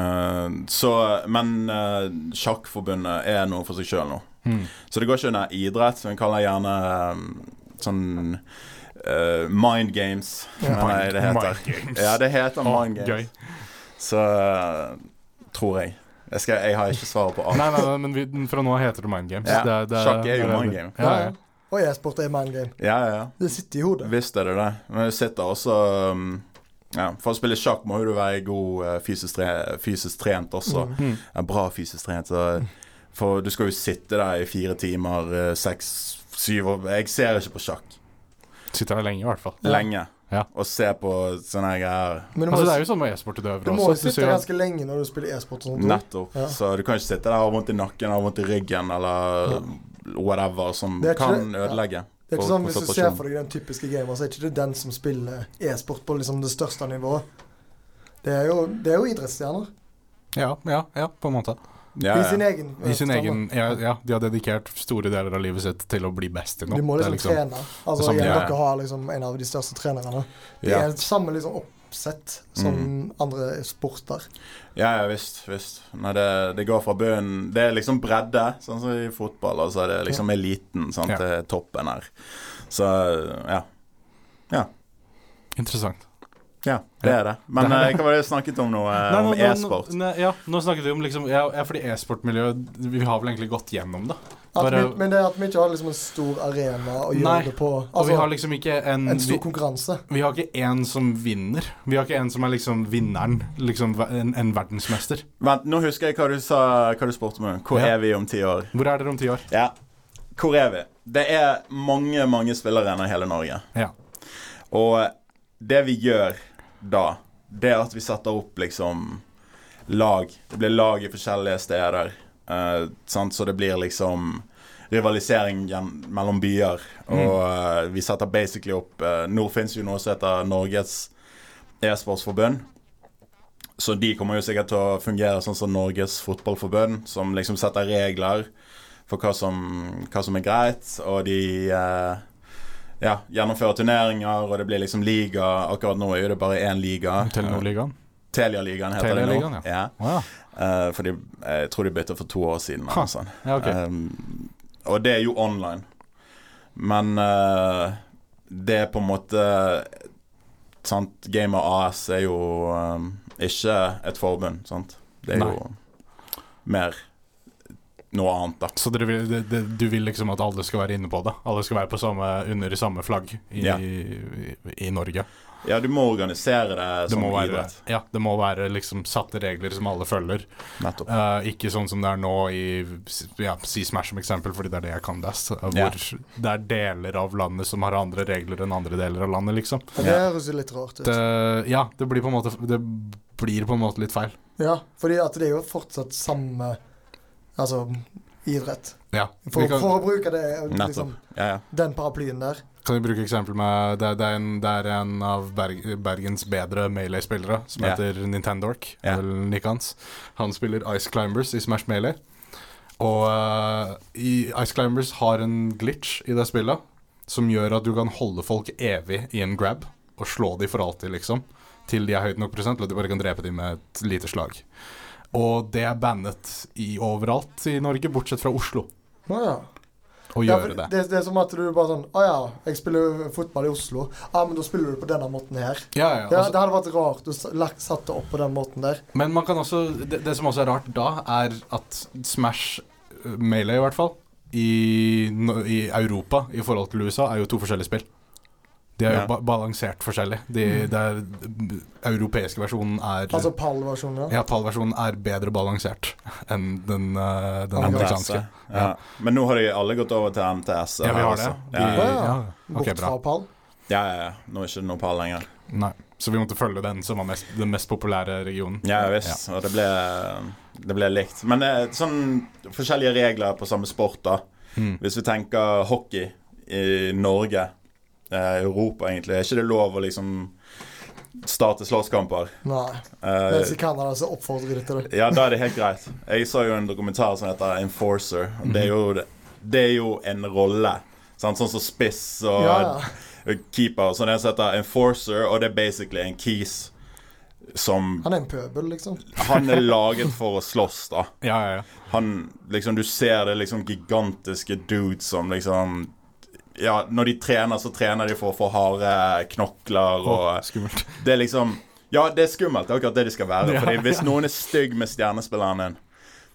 B: Eh, så, men eh, sjakkforbundet er noe for seg sjøl nå.
A: Mm.
B: Så det går ikke under idrett, så en kaller det gjerne eh, sånn eh, mind games,
C: Ja.
B: mener jeg det heter.
A: Games.
B: Ja, det heter
A: Å,
B: mind games.
A: gøy.
B: Så eh, tror jeg. Jeg, skal, jeg har ikke svaret på alt.
A: Nei, nei, nei, men vi, fra nå av heter det Mind Games.
B: Ja.
A: Det, det,
B: Sjakk er jo
A: det-
B: mind game.
A: Ja, ja.
C: Og e-sport er mind game.
B: Ja, ja, ja.
C: Det sitter i hodet.
B: Visst er det det. Men du sitter også um, ja, For å spille sjakk må jo du være god eh, fysisk, tre fysisk trent også.
A: Mm.
B: er bra fysisk trent. Så, for du skal jo sitte der i fire timer, eh, seks, syv år Jeg ser ikke på sjakk
A: Sitter der lenge, i hvert fall.
B: lenge.
A: Ja.
B: Og ser på sånne her greier.
C: Men du må,
A: Altså, det er jo sånn med e-sportutøvere
C: du må
A: også.
C: jo
A: at Du
C: sitte
A: ser, jo-
C: ganske lenge når du spiller e-sport. og sånt.
B: Nettopp.
C: Ja.
B: Så du kan ikke sitte der og ha vondt i nakken og vondt i ryggen eller whatever som
C: Det er ikke
B: kan
C: det- ja.
B: ødelegge.
C: Det er ikke
B: for
C: sånn, Hvis du ser
B: konsentrasjon.
C: for deg den typiske gamer, så er ikke det den som spiller e-sport på liksom det største nivået. Det er jo, det er jo idrettsstjerner.
A: Ja, ja, ja, på en måte.
B: Ja,
C: I sin
B: ja.
C: egen
A: I sin
C: forstand,
A: egen, ja, ja, de har dedikert store deler av livet sitt til å bli best i noe.
C: da. Du må
A: Det er
C: liksom, trene. Altså,
A: samme-
C: igjen,
B: ja, ja.
C: Dere har liksom en av de største trenerne. Det
B: Ja.
C: er samme liksom oppsett som
B: Mm.
C: andre sporter.
B: Ja, ja, visst. visst. Nei, det, det går fra bunnen Det er liksom bredde, sånn som i fotball, og så er det liksom eliten sant,
A: Ja.
B: til toppen her. Så ja.
A: Interessant.
B: Ja, det er det. Men eh, hva var det vi snakket om nå? eh,
A: Nei, nå-
B: Om
A: nå-
B: e-sport?
A: Nei, ja, nå snakket vi om liksom Ja, ja fordi e-sportmiljøet Vi har vel egentlig gått gjennom det.
C: At
A: Bare-
C: vi, Altså, men det er at vi ikke har liksom en stor arena å gjøre
A: Nei,
C: det på.
A: Og vi
C: Altså,
A: har liksom ikke en
C: en stor
A: vi,
C: konkurranse.
A: vi har ikke en som vinner. Vi har ikke en som er liksom vinneren. Liksom ver- en, en verdensmester.
B: Vent, nå husker jeg hva du sa Hva du spurte meg om. Hvor
A: Ja.
B: er vi om ti år?
A: Hvor er dere om ti år?
B: Ja. Hvor er vi? Det er mange, mange spillere i hele Norge.
A: Ja.
B: Og det vi gjør da, det er at vi setter opp liksom lag. Det blir lag i forskjellige steder. eh, sant? Så det blir liksom rivalisering gjen- mellom byer. Og eh, vi setter basically opp eh, Nå fins jo noe som heter Norges e-sportsforbund. Så de kommer jo sikkert til å fungere sånn som Norges fotballforbund, som liksom setter regler for hva som, hva som er greit, og de eh, ja, gjennomfører turneringer, og det blir liksom liga. Akkurat nå er jo det bare én liga.
A: Telenor-ligaen.
B: Telialigaen heter det
A: Telialigaen,
B: nå. Ja.
A: Wow.
B: Eh, fordi jeg tror de bytta for to år siden. Eller
A: Ha,
B: noe sånt.
A: Ja, ok.
B: Um, og det er jo online. Men eh, det er på en måte sant? Gamer AS er jo um, ikke et forbund, sant? Det er
A: Nei.
B: jo mer noe annet, da.
A: Så dere vil, det, det, du vil liksom at alle skal være inne på det? Alle skal være på samme, under samme flagg i,
B: Ja.
A: i, i Norge?
B: Ja, du må organisere det,
A: Det
B: som
A: må, være,
B: idrett.
A: ja, det må være liksom satte regler som alle følger.
B: Nettopp.
A: Eh, ikke sånn som det er nå i ja, Si Smash som eksempel, fordi det er det jeg kan best. eh, Hvor
B: Ja.
A: det er deler av landet som har andre regler enn andre deler av landet, liksom.
C: Og det
B: Ja.
C: høres jo litt rart ut.
A: Det, ja, det blir på en måte Det blir på en måte litt feil.
C: Ja, fordi at det er jo fortsatt samme altså, idrett.
A: Ja.
C: For,
A: Vi kan,
C: for å bruke det, liksom,
B: Nettopp. Ja, ja.
C: den paraplyen der.
A: kan vi bruke eksempel med Det, det, er, en, det er en av Berg, Bergens bedre Melee-spillere som
B: Ja.
A: heter Nintendork.
B: Ja.
A: Eller Nick hans. Han spiller Ice Climbers i Smash Melee. Og eh, i Ice Climbers har en glitch i det spillet som gjør at du kan holde folk evig i en grab og slå de for alltid, liksom. Til de er høyt nok prosent, eller at du bare kan drepe de med et lite slag. Og det er bannet i overalt i Norge, bortsett fra Oslo,
C: Å ja.
A: å
C: Ja, for
A: gjøre det.
C: det. Det er som at du bare sånn Å ja, jeg spiller jo fotball i Oslo. Ja, men da spiller du på denne måten her.
A: Ja, ja,
C: Ja,
A: altså-
C: det hadde vært rart å s- lagt- satt det opp på den måten der.
A: Men man kan også, det, det som også er rart da, er at Smash, eh, Melee i hvert fall, i, no- i Europa i forhold til USA, er jo to forskjellige spill. De er jo
B: Ja.
A: ba balansert forskjellig. De, det er, den europeiske versjonen er
C: Altså pall-versjonen. Ja.
A: Ja, PAL-versjonen er bedre balansert enn den, eh, den
C: Andre
A: amerikanske.
B: Ja. Men nå har de alle gått over til MTS.
A: Ja, vi har det.
B: altså.
A: De,
B: Ja, ja,
A: ja.
C: ja.
A: Ok,
C: Bort
A: bra.
C: fra pall.
B: ja, ja. Nå er det ikke noe par lenger.
A: Nei. Så vi måtte følge den som var mest, den mest populære regionen.
B: Ja visst. Og det ble, det ble likt. Men det er sånn forskjellige regler på samme sport, da.
A: Mm.
B: Hvis vi tenker hockey i Norge, eh, Europa egentlig, er ikke det lov å liksom starte slåsskamper?
C: Nei.
B: Eh,
C: Mens i Canada så oppfordrer de til det.
B: ja, da er det helt greit. Jeg så jo en dokumentar som heter Enforcer. og Det er jo, det, det er jo en rolle. Sant? Sånn som spiss og
C: Ja, ja.
B: keeper. Så det er en som heter Enforcer, og det er basically en keys som
C: Han er en pøbel, liksom.
B: Han er laget for å slåss, da.
A: Ja, ja, ja.
B: Han, liksom, du ser det liksom gigantiske dudes som liksom Ja, når de trener, så trener de for å få harde knokler
A: Å,
B: og
A: skummelt.
B: Det er liksom Ja, det er skummelt. Det er akkurat det de skal være.
A: Ja,
B: Fordi hvis noen er stygg med stjernespilleren din,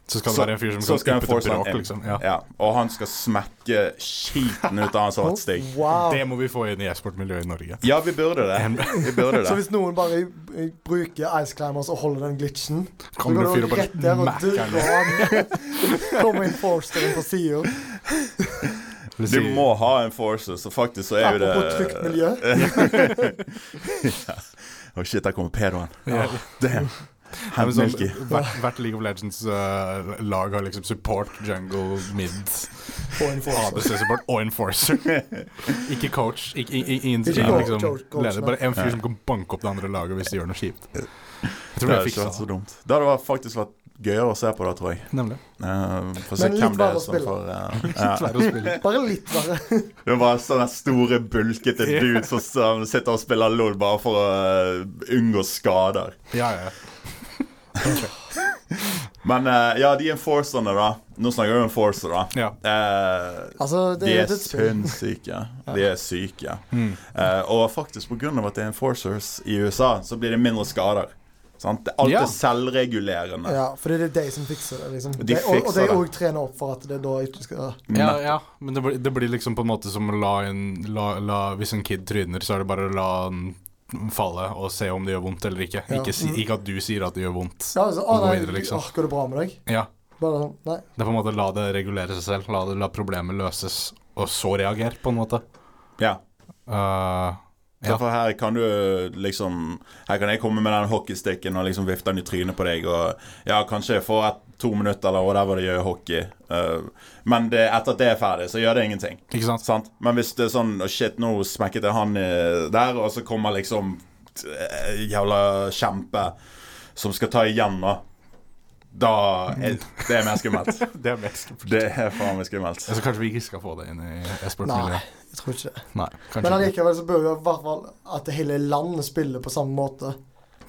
A: Så skal det
B: så-
A: være en fyr
B: så
A: som
B: skal
A: kan
B: en
A: yppe til
B: force han
A: bråk,
B: inn.
A: liksom. Ja.
B: ja, og han skal smekke skiten ut av han som har vært stygg.
C: Wow.
A: Det må vi få inn i e-sportmiljøet i Norge.
B: Ja, vi burde det. Vi burde
C: Så
B: det.
C: hvis noen bare i- i- bruker Ice Climbers og holder den glitchen
A: Kommer det en fyr og bare
C: rett der og
A: macker den.
C: drar Kommer inn forsteren på sida.
B: Du må ha en forcer, så faktisk så er jo det
C: Apropos trygt miljø.
B: Å, shit, der kommer pedoen.
A: Ja.
B: Damn.
A: Nei, men
B: Hent
A: sånn,
B: Milky.
A: hvert, hvert League of Legends-lag har liksom support, jungle, mid,
C: På en forster.
A: ADC-support og enforcer. ikke coach. Ikke, i- i- ingen som
C: Ikke
A: er
C: coach,
A: liksom
C: coach, coach,
A: leder. Bare en fyr
B: nei.
A: som kan banke opp det andre laget hvis de gjør noe kjipt. Jeg
B: Det
A: tror
B: hadde
A: jeg
B: ikke
A: fiksa
B: vært sånn så
A: det.
B: dumt. Det Eh, hadde vært- faktisk vært
D: gøyere å se på det, tror jeg.
A: Nemlig.
D: Uh, Få se
C: Men litt
D: hvem det
C: verre å
D: er som
C: spille.
D: får eh, ja.
A: Svære spill.
C: Bare litt verre.
B: Det var sånne store, bulkete
A: Ja.
B: dudes som, som sitter og spiller LOL bare for å eh, unngå skader.
A: Ja, ja.
B: Men eh, ja, de enforcerne, da. Nå snakker vi om enforcer, da.
A: ja.
B: Eh,
C: Altså, det,
B: de
C: er
B: er
C: et spill.
B: sinnssyke. De er syke.
A: Mm.
B: Eh, og faktisk pga. at det er enforcers i USA, så blir det mindre skader. Sant? Det- Alt
A: Ja.
B: er selvregulerende.
C: Ja, fordi det er de som fikser det, liksom.
B: De
C: De og, og
B: fikser
C: de
B: det.
C: òg trener opp for at det da ikke skal
A: ja,
B: Nett-
A: ja. Men det blir, det blir liksom på en måte som å la en la, la, Hvis en kid tryner, så er det bare å la han falle og se om det gjør vondt eller ikke.
C: Ja.
A: Ikke, si, ikke at du sier at det gjør vondt.
C: Ja, altså, å
A: Gå
C: nei,
A: videre, liksom.
C: åh, går det bra med deg?
A: Ja.
C: Bare sånn, nei.
A: Det er på en måte la det regulere seg selv. La, det, la problemet løses, og så reagere, på en måte.
B: Ja.
A: Uh,
B: Så
A: Ja.
B: For her kan du liksom Her kan jeg komme med den hockeysticken og liksom vifte den i trynet på deg, og ja, kanskje jeg får et, to minutter eller whatever det gjør i hockey, Eh, men det, etter at det er ferdig, så gjør det ingenting.
A: ikke sant?
B: Sant? Men hvis det er sånn «Å, Shit, nå smekket jeg han eh, der, og så kommer liksom eh, jævla kjempe som skal ta igjen, da. Da er Det er mer skummelt.
A: Det er mest.
B: Det er faen meg skummelt.
A: Så kanskje vi ikke skal få det inn i e-sportmiljøet.
C: Nei, jeg tror ikke det.
A: Nei. kanskje
C: Men
A: ikke.
C: allikevel så bør vi i hvert fall at hele landet spiller på samme måte.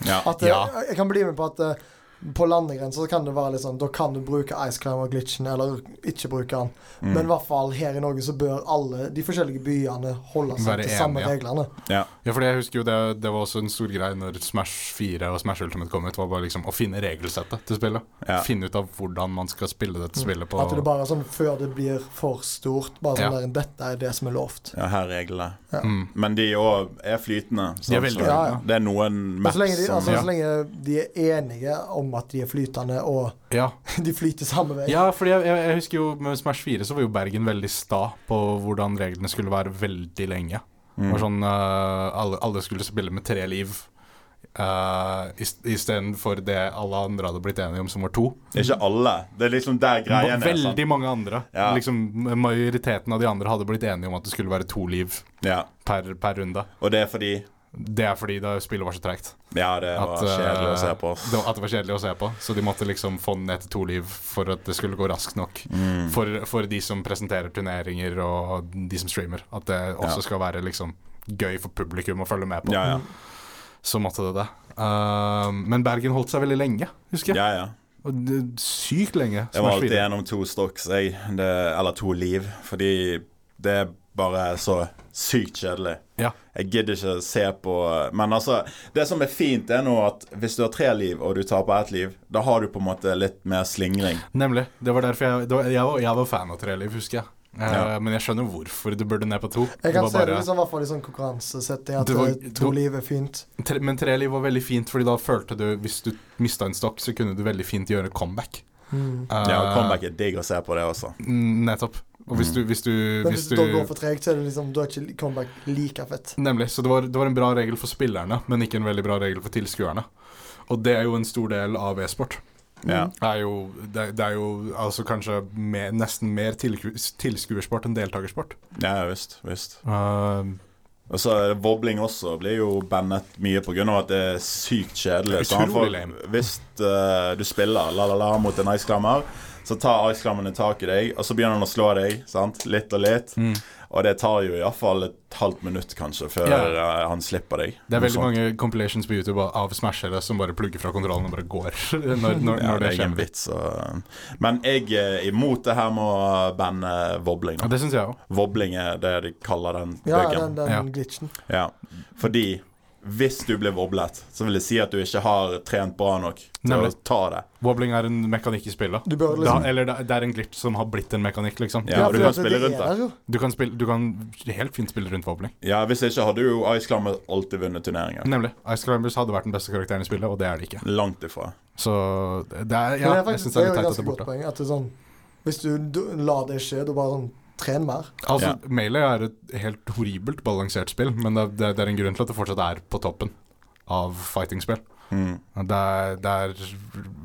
B: Ja.
C: At eh,
A: Ja.
C: Jeg kan bli med på at eh, på landegrenser så kan det være litt sånn Da kan du bruke Ice Climber-glitchen, eller ikke bruke den.
A: Mm.
C: Men i hvert fall her i Norge så bør alle de forskjellige byene holde seg
A: Være
C: til samme
A: enige.
C: reglene.
B: Ja.
A: Ja, for jeg husker jo det, det var også en stor greie når Smash 4 og Smash Ultimate kom ut, var bare liksom å finne regelsettet til spillet.
B: Ja.
A: Finne ut av hvordan man skal spille dette spillet på
C: Mm. At det bare er sånn før det blir for stort. Bare sånn
A: Ja.
C: der Dette er det som er lovt.
B: ja, her er reglene.
A: mm.
B: Men de òg er flytende. sant?
A: De er veldig
B: Så
C: Ja, ja.
B: Det er noen
C: Men
B: maps
C: så lenge, de,
B: som
C: altså,
A: ja.
C: så lenge de er enige om at de er flytende, og
A: Ja,
C: de flyter samme vei.
A: ja fordi jeg, jeg, jeg husker jo med Smash 4 så var jo Bergen veldig sta på hvordan reglene skulle være veldig lenge.
B: Mm.
A: Det var sånn eh, alle, alle skulle spille med tre liv. Uh, Istedenfor det alle andre hadde blitt enige om, som var to.
B: Ikke alle. Det er liksom der greien er. sant?
A: Veldig mange andre.
B: Ja.
A: Liksom, majoriteten av de andre hadde blitt enige om at det skulle være to liv
B: Ja.
A: per, per runde.
B: Og det er fordi
A: Det er fordi da spillet var så tregt.
B: Ja, det var kjedelig å se på.
A: eh, det var- at det var kjedelig å se på. Så de måtte liksom få den ned til to liv for at det skulle gå raskt nok.
B: Mm.
A: For, for de som presenterer turneringer og de som streamer. At det også
B: Ja.
A: skal være liksom gøy for publikum å følge med på.
B: Ja, ja.
A: Så måtte det det. Eh, men Bergen holdt seg veldig lenge, husker jeg.
B: ja, ja.
A: Og det- Sykt lenge.
B: Jeg var
A: Smash 4.
B: alltid gjennom to stocks, jeg. Det, eller to liv. Fordi det er bare så sykt kjedelig.
A: Ja.
B: Jeg gidder ikke se på Men altså, det som er fint, er nå at hvis du har tre liv, og du taper ett liv, da har du på en måte litt mer slingring.
A: Nemlig. Det var derfor jeg, det var, jeg, var, jeg var fan av Treliv, husker jeg. Eh,
B: Ja.
A: Men jeg skjønner hvorfor du burde ned på to.
C: Jeg kan
A: var
C: se det liksom, i hvert fall i sånn konkurransesetting at
A: Det var-
C: eh,
A: det
C: to
A: var-
C: liv er fint.
A: tre, men Treliv var veldig fint, Fordi da følte du hvis du mista en stokk, så kunne du veldig fint gjøre comeback.
C: Mm.
A: Eh,
B: Ja, og comeback er digg å se på det også.
A: mm, Nettopp. Og hvis du, hvis du,
C: Men
A: hvis
C: hvis
A: du
C: det da går for tregt, så er det liksom Da er ikke comeback like fett.
A: Nemlig. Så det var, det var en bra regel for spillerne, men ikke en veldig bra regel for tilskuerne. Og det er jo en stor del av e-sport.
B: Ja.
A: Det er jo, det, det er jo altså kanskje mer, nesten mer tilku- tilskuersport enn deltakersport.
B: Ja, visst. visst. Ah,
A: Eh,
B: Og så er det wobbling også. Blir jo bandet mye pga. at det er sykt kjedelig. Så han
A: Utrolig
B: får-
A: lame.
B: Hvis eh, du spiller la-la-la mot en iceklammer, så tar iceklammen tak i deg, og så begynner han å slå deg, sant? litt og litt.
A: Mm.
B: Og det tar jo iallfall et halvt minutt, kanskje, før
A: Ja.
B: eh, han slipper deg.
A: Det er
B: Noe
A: veldig
B: sånt.
A: mange compilations på YouTube av smashere som bare plugger fra kontrollen og bare går. når, når,
B: Ja,
A: når
B: det
A: det
B: er ingen
A: skjer.
B: vits. Og... Men jeg er imot det her med å banne wobbling.
A: Ja,
B: nå.
A: det syns jeg òg.
B: Wobbling er det de kaller den
C: Ja,
B: buggen.
C: den, den
A: Ja.
C: glitchen.
B: Ja, fordi hvis du blir wobblet, så vil det si at du ikke har trent bra nok til
A: Nemlig.
B: å ta det.
A: Wobbling er en mekanikk i spillet.
C: Du bør
A: Da,
C: liksom
A: eller det, det er en glitch som har blitt en mekanikk, liksom.
B: Ja, du
C: fordi
B: kan
C: at
B: spille
C: det
B: rundt
C: er
B: det.
C: der jo.
A: Du, kan spille, du kan helt fint spille rundt wobbling.
B: Ja, Hvis ikke hadde jo Ice Climber alltid vunnet turneringer.
A: Nemlig. Ice Climbers hadde vært den beste karakteren i spillet, og det er det ikke.
B: Langt ifra.
A: Så det er,
C: Men
A: ja,
C: det er
A: jeg
C: faktisk
A: syns
C: det
A: det
C: er
A: er litt teit
C: jo et
A: at det
C: ganske
A: er
C: godt
A: borte.
C: poeng. At det er sånn Hvis du, du lar det skje, du bare sånn Tren mer.
A: Altså,
B: Ja.
A: Melee er et helt horribelt balansert spill, men det, det, det er en grunn til at det fortsatt er på toppen av fighting-spill.
B: Mm.
A: Det er, det er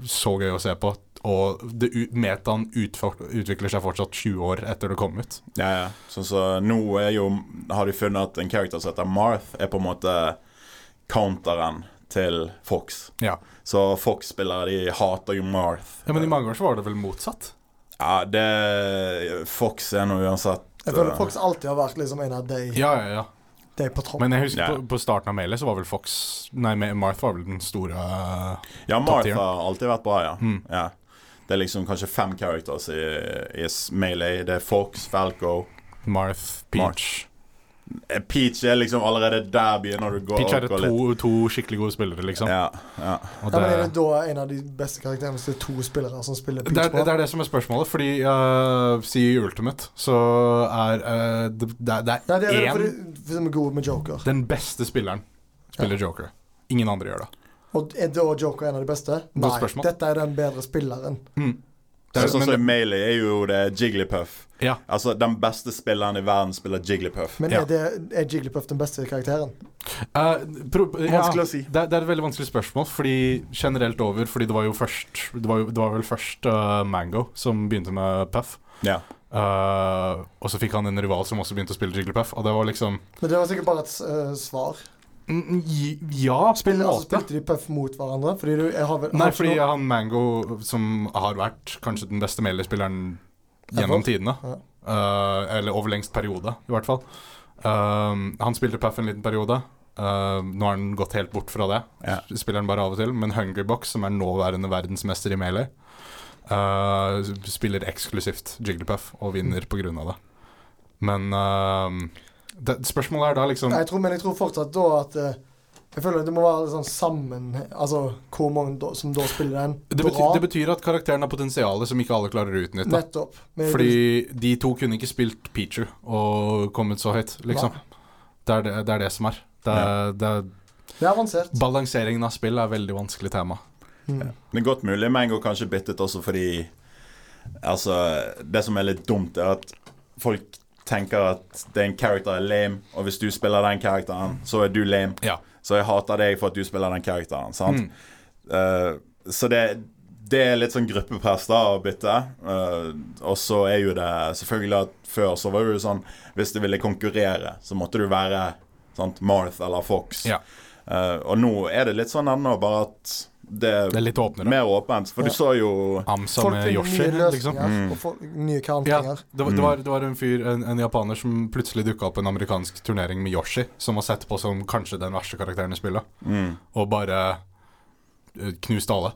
A: så gøy å se på. Og det, u- metaen utfor- utvikler seg fortsatt 20 år etter det kom ut.
B: Ja, ja. Sånn så nå er jo, har de funnet at en character som heter Marth, er på en måte counteren til Fox.
A: Ja.
B: Så Fox-spillere de hater jo Marth.
A: ja, men i mange år så var det vel motsatt?
B: Ja, det Fox er nå uansett
C: Jeg føler
B: eh,
C: Fox alltid har vært liksom en av de,
A: Ja, ja, ja.
C: de på topp.
A: Men jeg husker
B: Ja.
A: på, på starten av mailet så var vel Fox Nei, Ma- Marth var vel den store eh,
B: Ja,
A: Top
B: Martha
A: tier.
B: har alltid vært bra, ja.
A: Mm.
B: ja. Det er liksom kanskje fem characters i, i Melee. Det er Fox, Falco
A: Marth, Peach.
B: Eh, Peach er liksom allerede der begynner du å gå
A: Peach er
B: og
A: det
B: gå
A: to, to skikkelig gode spillere, liksom.
B: Ja, ja.
A: Og
C: ja, men er
A: det-
C: det da en av de beste karakterene hvis det er to spillere som spiller
A: Det er,
C: Peach på?
A: det er det som er spørsmålet, fordi eh, si i Ultimate, så er eh, det, det er- det
C: Nei, det
A: er
C: er
A: én
C: fordi fordi de er gode med Joker.
A: Den beste spilleren spiller Joker. Ingen andre gjør det.
C: Og er da Joker en av de beste? Nei,
A: spørsmål.
C: dette er den bedre spilleren.
B: Det er sånn som
A: Hmm. men,
B: i Melee er jo det Jigglypuff.
A: ja,
B: Altså, den beste spilleren i verden spiller Jigglypuff.
C: Men
A: Ja.
C: er, det, er Jigglypuff den beste karakteren?
A: Eh, pro ja,
B: Vanskelig å si.
A: Det, er- det er et veldig vanskelig spørsmål, fordi generelt over Fordi det var jo først Det var, jo, det var vel først eh, Mango som begynte med Puff.
B: Ja.
A: Eh, og så fikk han en rival som også begynte å spille Jigglypuff, og det var liksom
C: Men det var sikkert bare et eh, svar.
A: mm, j- Ja, på en
C: Spiller, altså,
A: måte.
C: spilte de Puff mot hverandre? Fordi du jeg har vel
A: Nei,
C: har ikke
A: fordi
C: noe-
A: han Mango, som har vært kanskje den beste Melee-spilleren gjennom tidene,
C: Ja.
A: eh, eller over lengst periode, i hvert fall Um, Han spilte Puff en liten periode. Eh, nå har han gått helt bort fra det.
B: Ja.
A: Spiller han bare av og til. Men Hungrybox, som er nåværende verdensmester i Melee, eh, spiller eksklusivt Jigglypuff og vinner på grunn av det. Men eh, det, spørsmålet er da liksom
C: Nei, jeg tror, men jeg tror fortsatt da at eh, Jeg føler det må være sånn sammen Altså hvor mange da, som da spiller den.
A: det betyr, det betyr at karakteren har potensial som ikke alle klarer å utnytte.
C: Nettopp. Men
A: Fordi de to kunne ikke spilt Pichu og kommet så høyt, liksom. Det er det, det er det som er. Det er, det er.
C: det er avansert.
A: Balanseringen av spill er et veldig vanskelig tema.
C: Mm.
B: Det er godt mulig Mango kanskje byttet også fordi Altså, det som er litt dumt, er at folk tenker at den character er lame, og hvis du spiller den karakteren, så er du lame.
A: Ja.
B: Så jeg hater deg for at du spiller den karakteren, sant?
A: Mm.
B: Eh, så det, det er litt sånn gruppepress da å bytte. Eh, og så er jo det selvfølgelig at før så var det jo sånn Hvis du ville konkurrere, så måtte du være sant, Marth eller Fox.
A: Ja.
B: Eh, og nå er det litt sånn ennå, bare at det er,
A: Det er litt åpnere.
B: mer åpent. For
C: Ja.
B: du så jo
A: Amsa
C: Folk
A: med
C: finner
A: Yoshi,
C: nye løsninger
A: liksom.
B: Mm.
C: og folk, nye
A: Ja,
C: kantringer.
A: det var, det, var, det var en fyr, en, en japaner, som plutselig dukka opp på en amerikansk turnering med Yoshi, som var sett på som kanskje den verste karakteren i spillet,
B: mm,
A: og bare eh, knuste alle.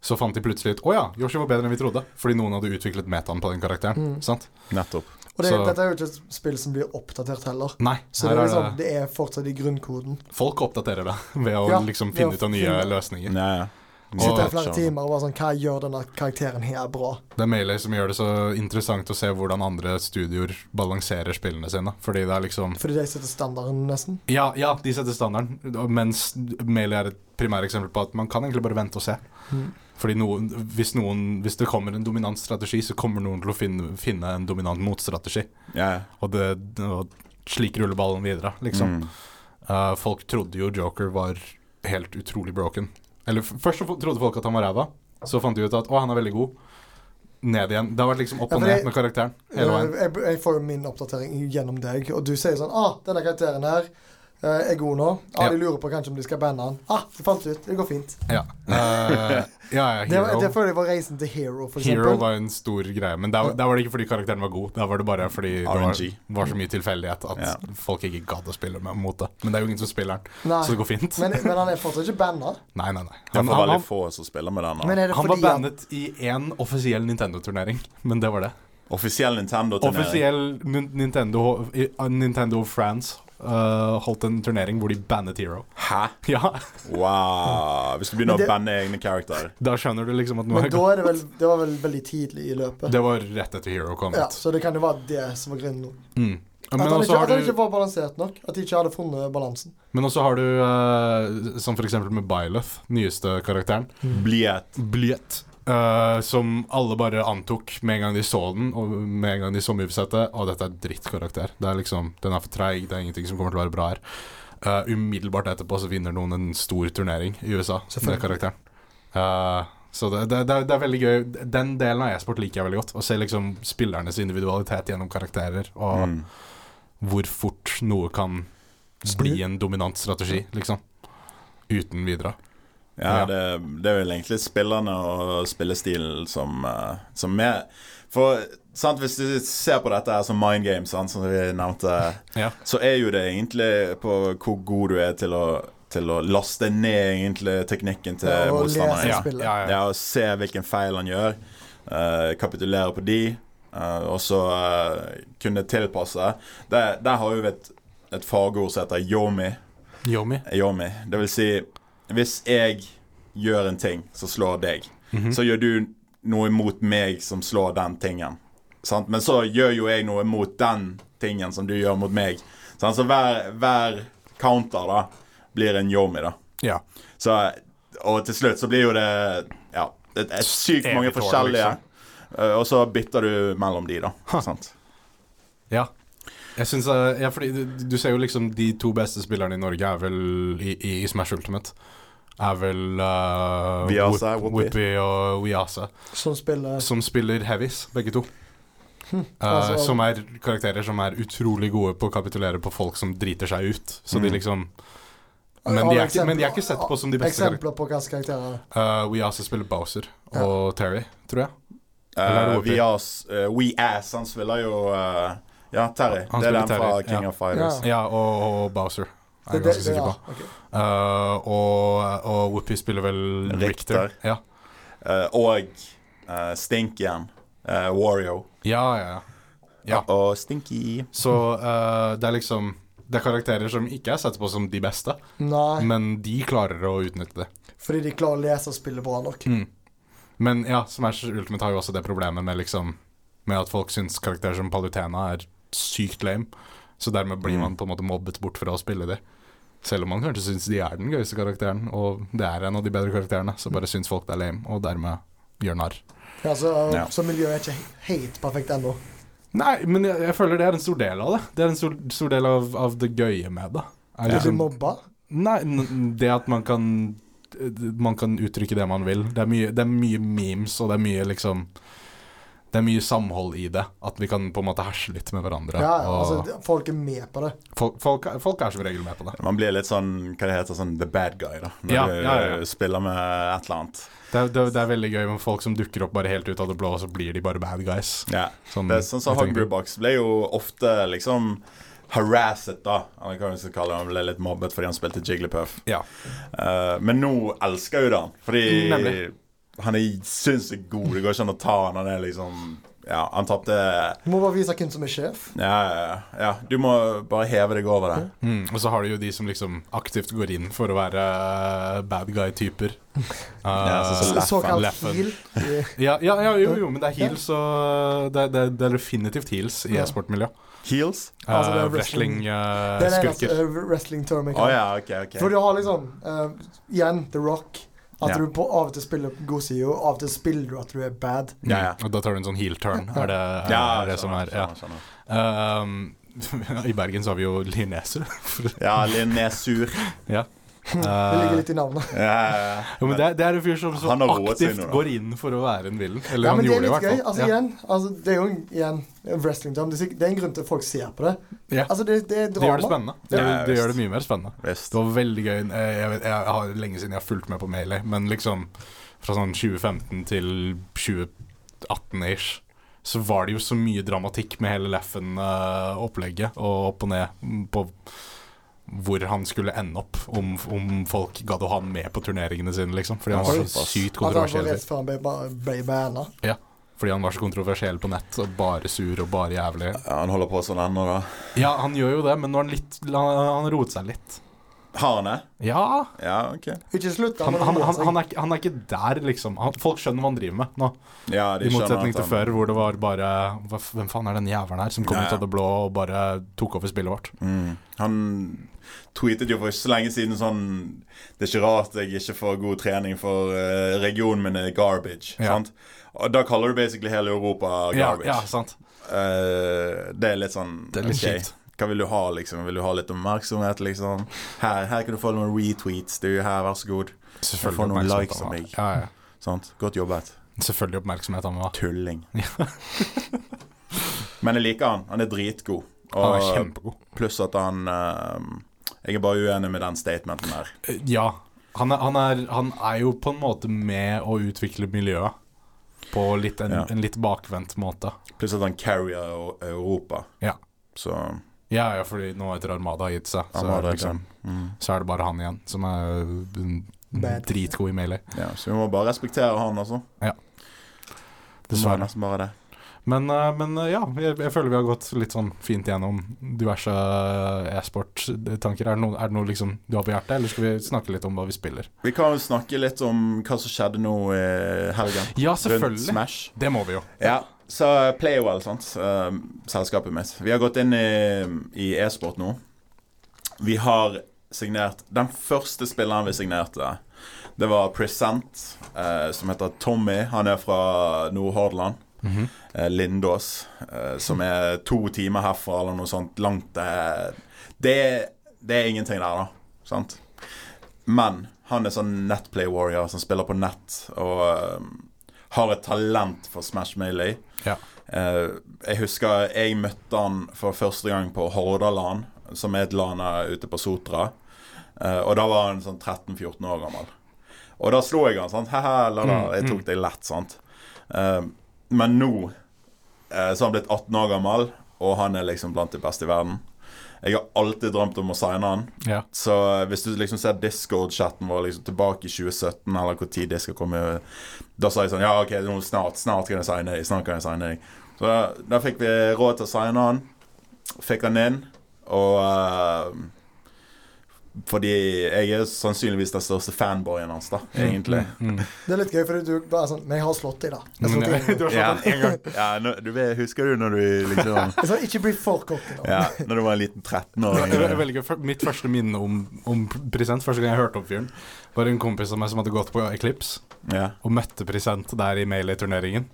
A: Så fant de plutselig ut Å ja, Yoshi var bedre enn vi trodde, fordi noen hadde utviklet metaen på den karakteren.
C: Mm.
A: Sant?
B: Nettopp.
C: Og det,
A: Så-
C: dette er jo ikke et spill som blir oppdatert heller.
A: Nei,
C: Så det
A: her
C: er,
A: er det
C: liksom, det er fortsatt i grunnkoden.
A: Folk oppdaterer det ved å
C: Ja,
A: liksom
C: ved å
A: finne ut av nye
C: finne-
A: løsninger.
B: Ja, ja.
A: Og-
C: Sitter her flere timer og bare sånn Hva gjør denne karakteren her bra?
A: Det er Melee som gjør det så interessant å se hvordan andre studioer balanserer spillene sine. Fordi det er liksom
C: Fordi de setter standarden, nesten.
A: Ja, ja de setter standarden, mens Melee er et primæreksempel på at man kan egentlig bare vente og se.
C: Mm.
A: Fordi noen, hvis, noen, hvis det kommer en dominant strategi, så kommer noen til å finne, finne en dominant motstrategi.
B: sånn. Ja, ja.
A: Og, det, og slik ruller ballen videre, liksom.
B: Mm.
A: Eh, folk trodde jo Joker var helt utrolig broken. Eller f- først så fo- trodde folk at han var ræva, så fant de ut at å, han er veldig god. Ned igjen. Det har vært liksom opp
C: Ja,
A: og
C: for det-
A: ned med karakteren hele
C: Eh,
A: veien.
C: Jeg, jeg får jo min oppdatering gjennom deg, og du sier sånn Ah, denne karakteren her eh, er god nå. Ah,
A: Ja.
C: De lurer på kanskje om de skal banne han. Ah, det fant ut. Det går fint.
A: Ja. Eh, ja, ja,
C: Det, var-
A: Hero.
C: det føler jeg var reisen til Hero, for
A: Hero
C: eksempel.
A: var en stor greie, men der, var- der var det ikke fordi karakteren var god. Der var det bare fordi det var,
B: RNG.
A: var så mye tilfeldighet at
B: Ja.
A: folk ikke gadd å spille med, mot det. Men det er jo ingen som spiller den, så
C: Nei.
A: det går fint.
C: Men, men han er fortsatt ikke banna.
A: nei, nei, nei.
B: Det er
A: Han,
B: for
A: han,
B: veldig
A: han,
B: få som spiller med den.
C: Men
B: da.
C: er det
A: han var
C: fordi han-
A: bandet i én offisiell Nintendo-turnering, men det var det.
B: Offisiell Nintendo-turnering.
A: Offisiell Nin- Nintendo, i- uh, Nintendo of France uh, holdt en turnering hvor de bannet Hero.
B: Hæ?
A: Ja,
B: Wow. Hvis du begynner
C: Men det-
B: å banne egne karakterer.
A: Da skjønner du liksom at noe
C: Men
A: er
C: da
A: galt.
C: er det vel Det var vel veldig tidlig i løpet.
A: Det var rett etter Hero kom
C: Ja,
A: ut.
C: så det kan jo være det som var grunnen.
A: Mm.
C: At
A: Men
C: han
A: også
C: ikke,
A: har
C: at han
A: du,
C: ikke var balansert nok. At de ikke hadde funnet balansen.
A: men også har du uh, som f.eks. med Byleth, nyeste karakteren,
B: Blyett.
A: Blyett, uh, som alle bare antok med en gang de så den, og med en gang de så movesettet. Å, dette er drittkarakter. Det er liksom, den er for treig, det er ingenting som kommer til å være bra her. Uh, umiddelbart etterpå så vinner noen en stor turnering i USA med
C: Selvfølgelig.
A: karakteren. Uh, så det, det, det, er- det er veldig gøy. Den delen av e-sport liker jeg veldig godt. Å se liksom spillernes individualitet gjennom karakterer, og
B: Mm.
A: hvor fort noe kan bli en dominant strategi, liksom. uten videre.
B: Ja,
A: Ja.
B: det, det er vel egentlig spillerne og spillestilen som, eh, som er For sant, hvis du ser på dette her som mind games, sant, som vi nevnte,
A: Ja.
B: så er jo det egentlig på hvor god du er til å, til å laste ned egentlig teknikken til
C: Ja, og
B: motstanderen.
C: lese
A: Ja,
C: spillet.
A: ja, ja.
B: Ja, og se hvilken feil han gjør. eh, kapitulere på de, eh, og så eh, kunne tilpasse. Der, der har vi et, et fagord som heter yomi.
A: Yomi.
B: yomi. Det vil si, hvis jeg gjør en ting som slår deg, så gjør du noe mot meg som slår den tingen. Sant? Men så gjør jo jeg noe mot den tingen som du gjør mot meg. Sant? Så hver, hver counter da blir en yomi, da.
A: Ja.
B: Så, og til slutt så blir jo det ja, det er sykt mange
A: Evig tårn,
B: forskjellige.
A: liksom.
B: Eh, Og så bytter du mellom de, da.
A: Ha.
B: Sant?
A: Ja. Jeg synes, eh, ja, fordi du, du ser jo liksom de to beste spillerne i Norge er vel i, i, i Smash Ultimate. Er vel eh,
B: Viasa,
A: Whoop-
B: Whoopi.
A: Whoopi og Wiasa.
C: Som spiller
A: Som spiller heavies, begge to. Eh,
C: altså-
A: som er karakterer som er utrolig gode på å kapitulere på folk som driter seg ut. Så de
B: Mm.
A: liksom
C: Ja,
A: men de, er,
C: eksempel-
A: ikke- men de er ikke sett på som de beste karakterene.
C: Eksempler på hvilke karakterer.
A: Uh, Weasa spiller Bowser og Terry, tror jeg. Eller er det
B: Uh,
A: Whoopi?
B: We Ass, han spiller jo eh, Ja, Terry.
A: Han
B: det er
A: spiller
B: den fra
A: Terry,
B: King
A: ja.
B: of Fighters.
A: Ja, og, og Bowser. Er jeg ganske sikker på.
C: ja, ok.
A: Uh, og, og Whoopi spiller vel
B: Richter.
A: Richter. Ja.
B: Eh, og eh, Stink igjen. Eh, Wario.
A: ja, ja, ja. Ja.
B: Og Stinky.
A: Så uh, det er liksom Det er karakterer som ikke er sett på som de beste,
C: Nei,
A: men de klarer å utnytte det.
C: fordi de klarer å lese og spille bra nok.
A: Mm. Men ja, Smash Ultimate har jo også det problemet med liksom Med at folk syns karakterer som Palutena er sykt lame, så dermed blir
B: Mm.
A: man på en måte mobbet bort fra å spille de. Selv om man kanskje syns de er den gøyeste karakteren, og det er en av de bedre karakterene, så bare syns folk det er lame, og dermed gjør narr.
C: Ja, så,
B: Ja.
C: så miljøet er ikke helt perfekt ennå.
A: Nei, men jeg, jeg føler det er en stor del av det. Det er en stor, stor del av, av det gøye med det. Er
C: Blir du
A: liksom-
C: mobba?
A: Nei, n- det at man kan Man kan uttrykke det man vil. Det er mye, det er mye memes, og det er mye liksom det er mye samhold i det. At vi kan på en måte herse litt med hverandre.
C: Ja, ja,
A: og
C: altså, de- folk er med på det.
A: folk, folk, er- folk er som regel med på det.
B: Man blir litt sånn hva det heter, sånn the bad guy, da. Når
A: Ja,
B: du
A: ja, ja, ja.
B: spiller med et eller annet.
A: Det er, det, er- det er veldig gøy med folk som dukker opp bare helt ut av det blå, og så blir de bare bad guys.
B: Ja.
A: Sånn,
B: Det er sånn som
A: jeg tenker.
B: Hungry Bucks ble jo ofte liksom harasset, da. Eller hva vi skal kalle det. Han ble litt mobbet fordi han spilte Jigglypuff.
A: Ja.
B: Eh, men nå elsker jo det han, fordi
A: Nemlig.
B: han er sinnssykt god. Det går ikke an å ta han. Han er liksom Ja, han tapte
C: Du må bare vise hvem som er sjef.
B: ja, ja, ja, du må bare heve deg over det.
A: Mm, og så har du jo de som liksom aktivt går inn for å være eh, bad guy-typer. Eh,
B: så- sånn så- Leffen.
C: Såkalt
A: Leffen.
C: heal.
A: ja, ja, ja, jo, jo, men det er
C: Ja.
A: heels, og det, det, det er definitivt heels i
C: Ja.
A: e-sportmiljø. Eh,
B: Heels?
C: Altså, det er wrestling- Det er den eneste
A: Wrestling-skurker.
C: eh, wrestling-termen jeg
B: Å
C: kan.
B: ja, OK, OK.
C: For du har liksom eh, Igjen The Rock. At
B: Ja.
C: du på, av og til spiller på god side, og av og til spiller du at du er bad.
B: Ja, ja.
A: Og da tar du en sånn heel-turn, er det, er
B: ja, sånn,
A: det som
B: skjønner,
A: er ja.
B: skjønner, skjønner.
A: Um, I Bergen så har vi jo Lineser.
B: Ja, Linesur.
A: ja.
C: Det
A: Eh,
C: ligger litt i navnet.
B: Ja, ja,
A: jo, men det, er- det er en fyr som så
B: Han har roet seg
A: aktivt
B: nå, da.
A: går inn for å være en villen. Eller
C: Ja,
A: han
C: men det er
A: gjorde det i
C: litt
A: hvert
C: gøy.
A: fall.
C: Altså, igjen, altså, det er jo en- igjen en wrestling-term. Det, er sikk- det er en grunn til at folk ser på det.
A: ja. ja.
C: Altså, det, det er
A: Det gjør det
C: drama.
A: spennende. Det,
B: Ja,
A: det
B: visst.
A: gjør det mye mer spennende.
B: ja. Visst.
A: Det var veldig gøy. Eh, Jeg, vet, jeg har lenge siden jeg har fulgt med på Melee, men liksom fra sånn 2015 til 2018-ish, så var det jo så mye dramatikk med hele Leffen-opplegget, og opp og ned mm, på hvor han skulle ende opp, om, om folk gadd å ha han med på turneringene sine, liksom. Fordi han var så
B: Såpass.
A: sykt
C: At han var
A: kontroversiell.
C: rett før han ble, ba- ble banna.
A: Fordi han var så kontroversiell på nett, og bare sur og bare jævlig.
B: Ja, han holder på sånn ennå, da.
A: Ja, han gjør jo det, men nå er han litt Han, han roet seg litt.
B: Har han det?
A: Ja,
B: Ja, OK.
C: Ikke slutt,
A: Han, han, han, han,
C: er,
A: er, ikke- han er ikke der, liksom. Han, folk skjønner hva han driver med nå.
B: Ja, de
A: I motsetning til
B: skjønner at
A: før, hvor det var bare hva, f- Hvem faen er den jævelen her som kom
B: Ja, ja.
A: ut av det blå og bare tok over spillet vårt?
B: han- Mm. Han tweetet jo for ikke så lenge siden sånn Det er ikke rart jeg ikke får god trening, for eh, regionen min er garbage.
A: Ja.
B: Sant? Og da kaller du basically hele Europa
A: Ja,
B: garbage.
A: ja, sant.
B: Eh, det er litt sånn
A: Det er litt
B: ok,
A: kjipt.
B: Hva vil du ha, liksom? Vil du ha litt oppmerksomhet, liksom? Her, her kan du få noen retweets. Du, her, vær så god. Jeg får noen
A: oppmerksomhet
B: likes
A: han
B: av
A: var.
B: meg.
A: Ja, ja.
B: Sant? Godt jobbet.
A: Selvfølgelig oppmerksomhet han var.
B: Tulling. Men jeg liker han. Han er dritgod.
A: Han er
B: Og
A: kjempegod.
B: pluss at han eh, Jeg er bare uenig med den statementen der.
A: Ja, Han er, han, er, han er jo på en måte med å utvikle miljøet på litt en,
B: Ja.
A: en litt bakvendt måte.
B: Pluss at han carrier Eu- Europa.
A: Ja.
B: Så han
A: Ja, ja, fordi nå etter Armada har gitt seg, så,
B: var
A: er det
B: det,
A: liksom,
B: liksom. Mm.
A: så er det bare han igjen som er mm,
C: Bad.
A: dritgod i melee.
B: Ja, så vi må bare respektere han, altså. Vi må
A: Dessverre.
B: nesten bare det.
A: Men, eh, men eh, ja, jeg, jeg føler vi har gått litt sånn fint gjennom diverse eh, e-sport-tanker. Er, det noe- er det noe liksom du har på hjertet, eller skal vi snakke litt om hva vi spiller?
B: Vi kan jo snakke litt om hva som skjedde nå i helgen.
A: Ja,
B: Rundt
A: selvfølgelig.
B: Smash.
A: Det må vi jo.
B: Ja, så Playwell, sant. eh, Selskapet mitt. Vi har gått inn i, i e-sport nå. Vi har signert Den første spilleren vi signerte, det var Present, eh, som heter Tommy. Han er fra Nordhordland.
A: Mhm.
B: eh, Lindås, eh, som er to timer herfra eller noe sånt. Langt eh, det, det er ingenting der, da. Sant? Men han er sånn netplay warrior som spiller på nett og eh, har et talent for Smash Melee.
A: Ja.
B: Eh, jeg husker jeg møtte han for første gang på Hordaland, som er et land her ute på Sotra. Eh, og da var han sånn 13-14 år gammel. Og da slo jeg han, sant. Haha, la, la. Jeg tok det lett, sant. Eh, men nå eh, så har han blitt 18 år gammel, og han er liksom blant de beste i verden. Jeg har alltid drømt om å signe han.
A: Ja.
B: Så hvis du liksom ser Discord-chatten vår liksom tilbake i 2017, eller hvor tid det skal komme Da sa jeg sånn Ja, OK, nå snart, snart kan jeg signe deg. Snart kan jeg signe deg. Så da, da fikk vi råd til å signe han. Fikk han inn, og eh, Fordi jeg er sannsynligvis den største fanboyen hans, da, egentlig.
A: Mm.
C: Det er litt gøy, fordi du bare er sånn Men jeg har slått deg, da. Jeg, har slått deg en gang.
A: Du har slått
B: Ja,
A: den
B: en gang. Ja, nå- du vet, husker du når du liksom
C: jeg sa sånn, ikke bli for cocky nå.
B: Ja, når du var en liten
A: Jeg jeg
B: 13-åring.
A: velger fyr- Mitt første minne om, om Prisent, første gang jeg hørte om fyren, var en kompis av meg som hadde gått på Eclipse
B: Ja.
A: og møtte Prisent der i Melee-turneringen.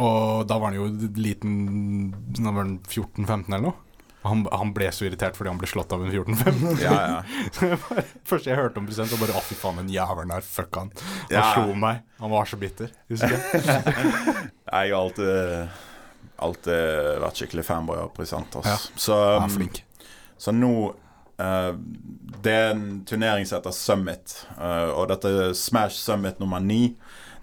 A: Og da var han jo liten Da var han 14-15 eller noe. Og Han, han ble så irritert fordi han ble slått av en 14-15.
B: Ja, ja.
A: Så jeg bare- Først jeg hørte om Prisent, og bare å, fy faen, den jævelen der, fuck han. Han
B: Ja.
A: slo meg. Han var så bitter. Husker jeg.
B: Jeg har alltid, alltid vært skikkelig fanboy av Prisant. ass.
A: Ja,
B: Så, um,
A: Han er flink.
B: så nå eh, Det er en turnering som heter Summit, eh, og dette er Smash Summit nummer ni.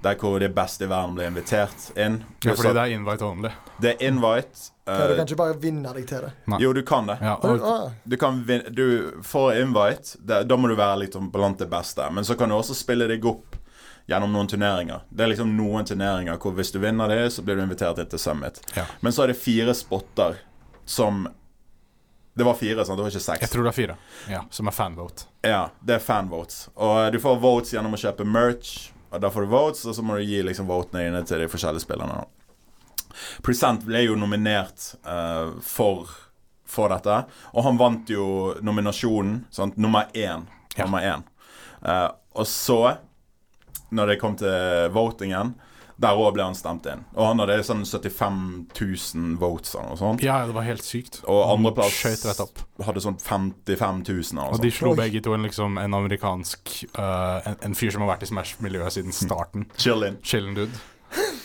B: Der hvor de beste i verden blir invitert inn.
A: Ja, fordi det er invite only.
B: det er invite. eh,
C: Ja, du kan ikke bare vinne deg til det.
A: Nei.
B: jo, du kan det.
A: Ja,
C: Å,
A: og,
C: å,
B: Du, kan vin du får invite, da, da må du være liksom blant det beste. Men så kan du også spille deg opp gjennom noen turneringer. Det er liksom noen turneringer hvor hvis du vinner det, så blir du invitert inn til Summit.
A: Ja.
B: Men så er det fire spotter som Det var fire, sant? Det var ikke seks.
A: jeg tror det er fire, ja, som er fanvote.
B: Ja, det er fanvotes. Og eh, du får votes gjennom å kjøpe merch. Og da får du votes, og så må du gi liksom votene dine til de forskjellige spillerne. da. Present ble jo nominert eh, for, for dette, og han vant jo nominasjonen. Sant? Nummer én.
A: Ja.
B: Nummer én. Eh, og så, når det kom til votingen, der òg ble han stemt inn. Og han hadde sånn 75 000 votes eller noe sånt.
A: Ja, ja, det var helt sykt.
B: Og andreplass
A: Han skjøt rett opp.
B: hadde sånn 55 000 eller noe
A: Og
B: sånt.
A: de slo
C: Oi.
A: begge to en, liksom, en amerikansk eh, en, en fyr som har vært i Smash-miljøet siden starten.
B: Chillin.
A: Chillen dude. Det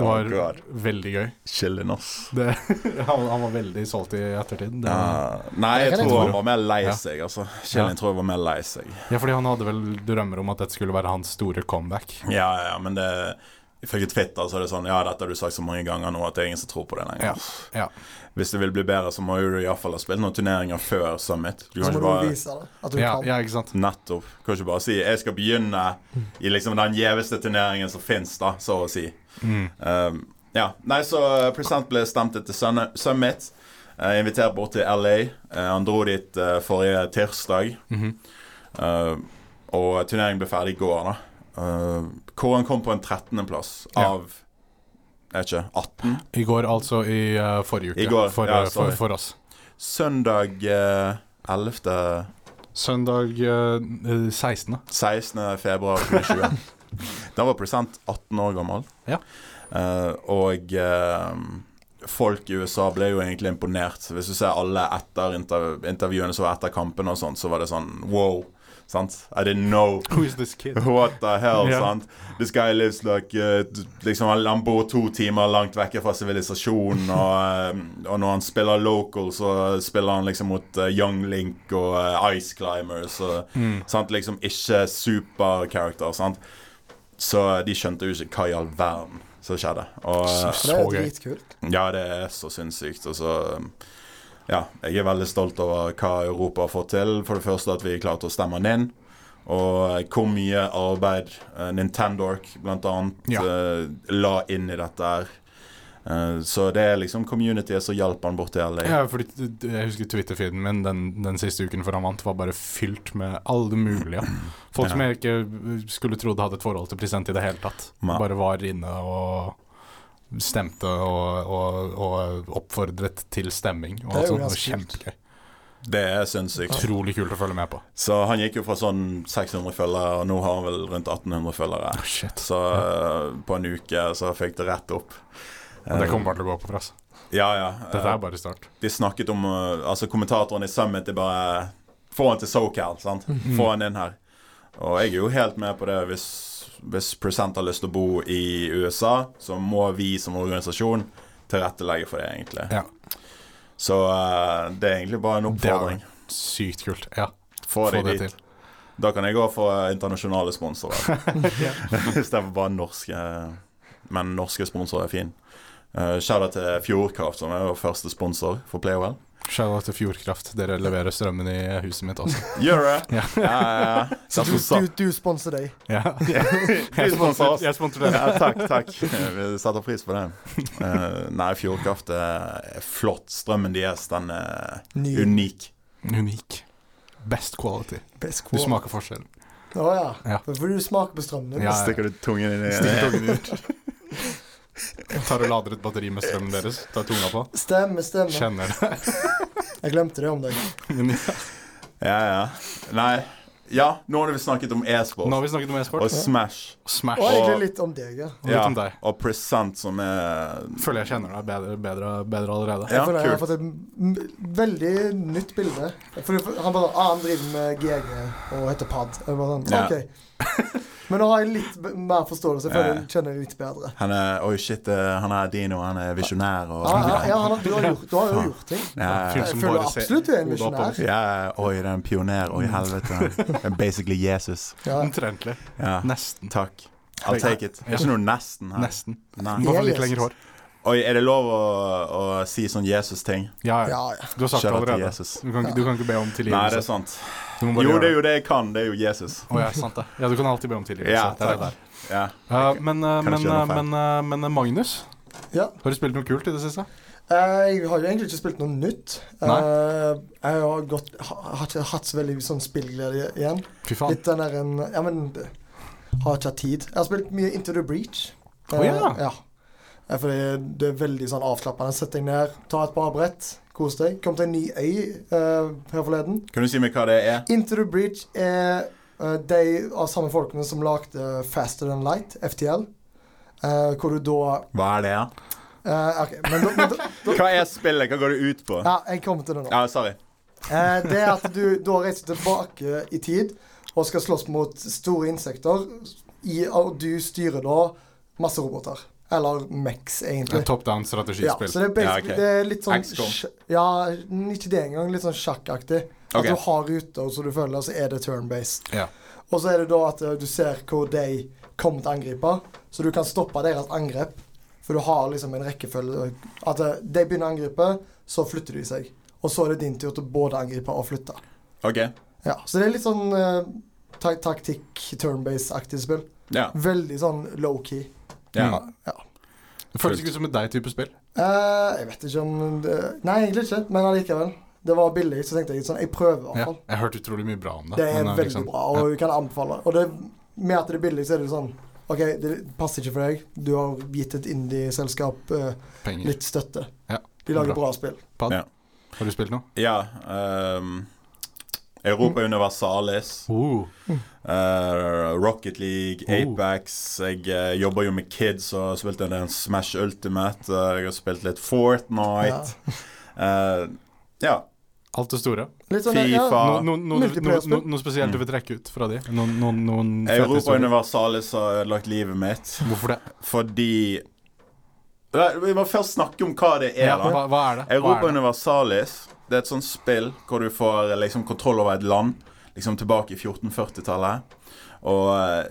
B: Oh,
A: var
B: God.
A: veldig gøy.
B: Chillin, ass.
A: Det, han, han var veldig solgt i ettertid. Det,
B: Ja. Eh, Nei, jeg
C: Det kan
B: tror
C: jeg
A: tro.
B: han var mer lei
A: Ja.
B: seg, altså. Kjellin
A: Ja.
B: tror jeg var mer lei seg.
A: Ja, fordi han hadde vel drømmer om at dette skulle være hans store comeback.
B: Ja, ja, men det Ifølge Twitter så er det sånn Ja, dette har du sagt så mange ganger nå at det er ingen som tror på det lenger.
A: Ja, ja.
B: Hvis du vil bli bedre, så må jo du iallfall ha spilt noen turneringer før Summit. Du
C: Så
B: kan
C: må
B: ikke
C: du
B: bare
C: vise det. At du
A: ja,
C: kan.
A: ja ikke sant?
B: Nettopp. Kan ikke bare si 'Jeg skal begynne i liksom den gjeveste turneringen som fins', da, så å si. Um, ja. Nei, så eh, Present ble stemt etter Sunne- Summit. Eh, invitert bort til LA. Eh, han dro dit eh, forrige tirsdag. Eh, og turneringen ble ferdig i går, da. Eh, hvor han kom på en 13.-plass
A: Ja.
B: av Jeg vet ikke 18?
A: I går, altså i eh, forrige uke.
B: I går,
A: for,
B: ja,
A: eh, for,
B: sorry.
A: for oss.
B: Søndag eh, 11.
A: Søndag eh, 16.
B: 16. februar 2020. da var Present 18 år gammel.
A: Ja.
B: Eh, og eh, folk i USA ble jo egentlig imponert. Hvis du ser alle etter interv intervjuene som var etter kampen og sånt, så var det sånn wow. Sant? I didn't know.
A: Who is this kid?
B: What the hell,
A: Ja.
B: sant? This guy lives like eh, d- liksom, han- Han bor to timer langt vekke fra sivilisasjonen, og, eh, og når han spiller local, så spiller han liksom mot eh, Young Link og eh, Ice Climbers og
A: Mm.
B: sant? Liksom ikke superkarakter, sant? Så de skjønte jo ikke hva i all verden som skjedde. Og eh,
C: For det er
A: Så gøy.
C: dritkult.
B: ja, det er så sinnssykt. Og så um, Ja, jeg er veldig stolt over hva Europa har fått til. For det første at vi klarte å stemme den inn. Og eh, hvor mye arbeid eh, Nintendork blant annet
A: Ja.
B: eh, la inn i dette her. Eh, så det er liksom communityet som hjalp han bort til LA.
A: Ja, fordi t- Jeg husker Twitter-feeden min den, den siste uken før han vant, var bare fylt med alle mulige. Folk som
B: Ja.
A: jeg ikke eh, skulle trodd hadde et forhold til president i det hele tatt.
B: Nei.
A: Bare var inne og stemte og, og, og oppfordret til stemming. Og
C: Det er
A: alt
C: jo
A: sånt. Det var
C: ganske kult.
A: kjempegøy.
B: Det er sinnssykt.
A: Utrolig kult å følge med på.
B: Så han gikk jo fra sånn 600 følgere, og nå har han vel rundt 1800 følgere.
A: shit.
B: Så eh, på en uke så fikk det rett opp. Eh,
A: Det kommer bare til å gå opp for oss.
B: Ja, ja.
A: Dette er bare start.
B: de snakket om eh, Altså kommentatoren i Summit er bare Få han til SoCal, sant?
A: Mhm.
B: Få han inn her. Og jeg er jo helt med på det. Hvis, hvis Present har lyst til å bo i USA, så må vi som organisasjon tilrettelegge for det, egentlig.
A: Ja.
B: Så eh, det er egentlig bare en
A: Det hadde
B: oppfordring.
A: vært sykt kult. Ja,
B: Få
A: få
B: de
A: det
B: dit.
A: til.
B: Da kan jeg gå for eh, internasjonale sponsorer.
A: Ja.
B: Istedenfor bare norske. Men norske sponsorer er fin. Uh, Shout-out til Fjordkraft, som er vår første sponsor for Playwell.
A: Shout-out til Fjordkraft. Dere leverer strømmen i huset mitt også.
B: Gjør det!
A: Ja.
B: Ja, ja, ja.
C: Så du,
B: Derfor sa-
C: du, du sponser deg.
A: Ja.
B: Vi
A: Jeg
B: sponser oss.
A: sponser- jeg sponser dere.
B: Ja, takk, takk. Vi setter pris på det. Eh, nei, Fjordkraft er flott. Strømmen deres, den er
C: Ny
B: unik.
A: Unik. Best quality.
C: best
A: Du
C: quote.
A: smaker forskjell.
C: Å ja.
A: Ja.
C: For du smaker på strømmen.
A: Ja, ja.
B: Stikker du tungen inn i
A: Stikker tungen ut. Tar og lader et batteri med strømmen deres. Tar tunga på.
C: Stemmer, stemmer.
A: Kjenner det.
C: Jeg glemte det om deg.
A: Men ja.
B: Ja, ja. Nei. Ja, nå har vi snakket om
A: Nå har
B: e-sport
A: vi snakket om e-sport.
B: og Smash
C: Og
A: Smash.
C: egentlig litt om deg, ja.
A: Og
B: ja,
A: litt om deg.
B: og Present, som er
A: Føler jeg kjenner deg bedre, bedre, bedre allerede.
B: Ja,
C: Jeg føler jeg har
B: kult.
C: fått et m- veldig nytt bilde. For han bare ah, han driver med GG og heter Pad. Jeg bare sånn,
B: Ja.
C: ok. Men nå har jeg litt b- mer forståelse, jeg føler
B: Ja.
C: jeg kjenner det litt bedre.
B: Han er Oi, shit, eh, han er dino, han er visjonær og
C: Ja, Ah, ja, ja, han, har- du, har gjort, du har jo gjort ting.
B: Ja, ja.
A: Fyr som
C: Jeg føler
A: bare ser
C: absolutt du er en
A: hodet oppover.
C: misjonær.
B: Ja, oi, det er en pioner. Oi, helvete. Basically Jesus.
C: Ja.
A: Omtrentlig.
B: Ja,
A: Nesten.
B: takk. I'll take it. Det er ikke noe nesten her.
A: Nesten.
B: Nei.
A: I hvert fall litt
C: Jesus.
A: lengre hår.
B: Oi, er det lov å, å si sånn Jesus-ting?
A: Ja, ja.
C: Ja, ja.
A: Du har sagt det
B: Shout out til
A: allerede.
B: Jesus.
A: Du kan, ikke- du kan ikke be om
B: Nei, det er
A: tilgivelse.
B: sant.
A: Du må bare
B: Jo,
A: gjøre
B: det er jo det jeg kan. Det er jo Jesus.
A: Å ja, sant det. Ja, du kan alltid be om tilgivelse.
B: Ja,
A: det er det
B: takk.
A: der.
B: Ja.
A: Uh, men, uh, men,
B: Kanskje
A: uh,
B: noe feil.
A: men, uh, men uh, Magnus,
C: ja.
A: har du spilt noe kult i det siste?
C: Eh, Jeg har jo egentlig ikke spilt noe nytt.
A: Nei.
C: Eh, Jeg har, gått, ha- har ikke hatt så veldig sånn spillglede igjen.
A: Fy faen.
C: Litt den der en Ja, men det- har ikke hatt tid. Jeg har spilt mye Into the Breach.
A: Å,
C: Eh,
A: ja.
C: ja. Eh, For det, det er veldig sånn avslappende. Sett deg ned, ta et par brett, kos deg. Kom til en ny øy eh, her forleden.
B: Kan du si meg hva det er?
C: Into the Breach er eh, de av samme folkene som lagde Faster Than Light, FTL. Eh, hvor du da
B: Hva er det? ja?
C: eh, OK, men, da- men da-
B: Hva er spillet? Hva går det ut på?
C: ja, jeg kommer til det nå.
B: Ja, sorry.
C: Eh, det er at du da reiser tilbake i tid og skal slåss mot store insekter. I, og du styrer da masse roboter. Eller Mex, egentlig.
A: Et top down
C: Ja,
A: strategispill.
C: så det er, basically-
B: Ja, ok.
C: det er litt sånn
B: XCOM.
C: sj- Ja, ikke det engang. Litt sånn sjakkaktig.
B: Ok.
C: At du har ruter som du følger, så er det turn-based.
A: Ja.
C: Og så er det da at eh, du ser hvor de kommer til å angripe, så du kan stoppe deres angrep. For du har liksom en rekkefølge At eh, de begynner å angripe, så flytter de seg. Og så er det din tur til både å angripe og flytte.
B: OK.
C: Ja, så det er litt sånn eh, ta taktikk, turn-based-aktig spill.
B: Ja.
C: Veldig sånn low-key.
B: ja.
C: Ja. Mm.
A: Det føles ikke som et deg-type spill.
C: Eh, jeg vet ikke om det, Nei, egentlig ikke, men allikevel. Det var billig, så tenkte jeg sånn, jeg prøver i hvert
A: Ja,
C: fall.
A: jeg har hørt utrolig mye bra om det.
C: Det er
A: men, uh,
C: veldig
A: liksom,
C: bra, og jeg kan anbefale. Og det, med at det er billig, så er det sånn OK, det passer ikke for deg. Du har gitt et indie-selskap eh,
A: ja, penger.
C: litt støtte.
A: Mm. Ja,
C: De lager
A: bra.
C: bra spill.
A: Har du spilt noe?
B: ja ehm, Europa Universalis,
A: Oh.
B: eh, Rocket League,
A: Oh.
B: 8Backs Jeg eh, jobber jo med kids og har spilt en del Smash Ultimate. eh, jeg har spilt litt Fortnite.
C: Ja.
B: Eh, ja.
A: Alt det store.
C: Litt sånn, ja.
B: Fifa.
A: Noe no, no, no, no,
C: Multiplayerspill.
A: no, noe spesielt du vil trekke ut fra de? Noen, noen, noen fete
B: Europa
A: historier?
B: Universalis har ødelagt livet mitt
A: Hvorfor det?
B: fordi Nei, Vi må først snakke om hva det er,
A: Ja,
B: da.
A: hva, hva er det? Hva
B: Europa
A: er det?
B: Universalis Det er et sånt spill hvor du får eh, liksom, kontroll over et land Liksom tilbake i 1440-tallet Og eh,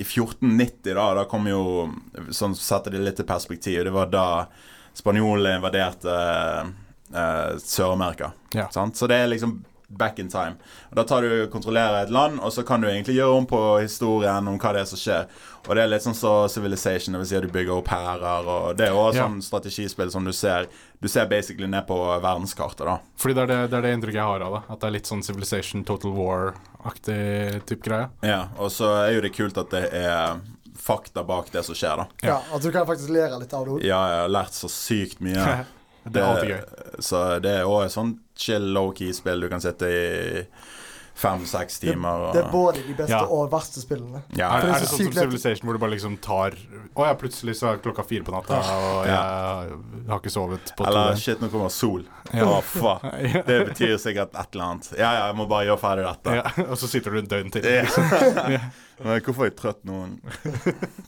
B: i 1490 da Da kom jo Sånn setter det litt i perspektiv Det var da spanjolene invaderte eh, Sør-Amerika
A: Ja.
B: sant? Så det er liksom back in time Og da tar du kontrollerer et land Og så kan du egentlig gjøre om på historien Om hva det er som skjer Og det er litt sånn så civilization Det vil si at du bygger opp herrer Og det er jo også
A: Ja.
B: sånn strategispill som du ser Du ser basically ned på verdenskartet da
A: Fordi det er det, det er det inntrykket jeg har av det. At det er litt sånn Civilization, Total War-aktig type greie.
B: Ja, og så er jo det kult at det er fakta bak det som skjer, da.
C: ja, at du kan faktisk lære litt av det òg.
B: Ja, jeg har lært så sykt mye.
A: det er alltid gøy.
B: Så det er òg et sånt chill low-key-spill du kan sitte i fem-seks timer
C: Det er
B: og
C: både de beste
A: Ja.
C: og verste spillene.
B: ja,
A: Er, er det
C: det så
A: sånn som
C: sykt lett.
A: Civilization hvor du bare liksom tar Å ja, plutselig så er klokka fire på natta, og jeg har ikke sovet på to
B: Eller
A: døgn.
B: shit, nå kommer sol. Å,
A: Ja.
B: fuck. Det betyr sikkert et eller annet. Ja, ja, jeg må bare gjøre ferdig dette.
A: Ja, og så sitter du et døgn til.
B: Ja. Men hvorfor er jeg trøtt nå?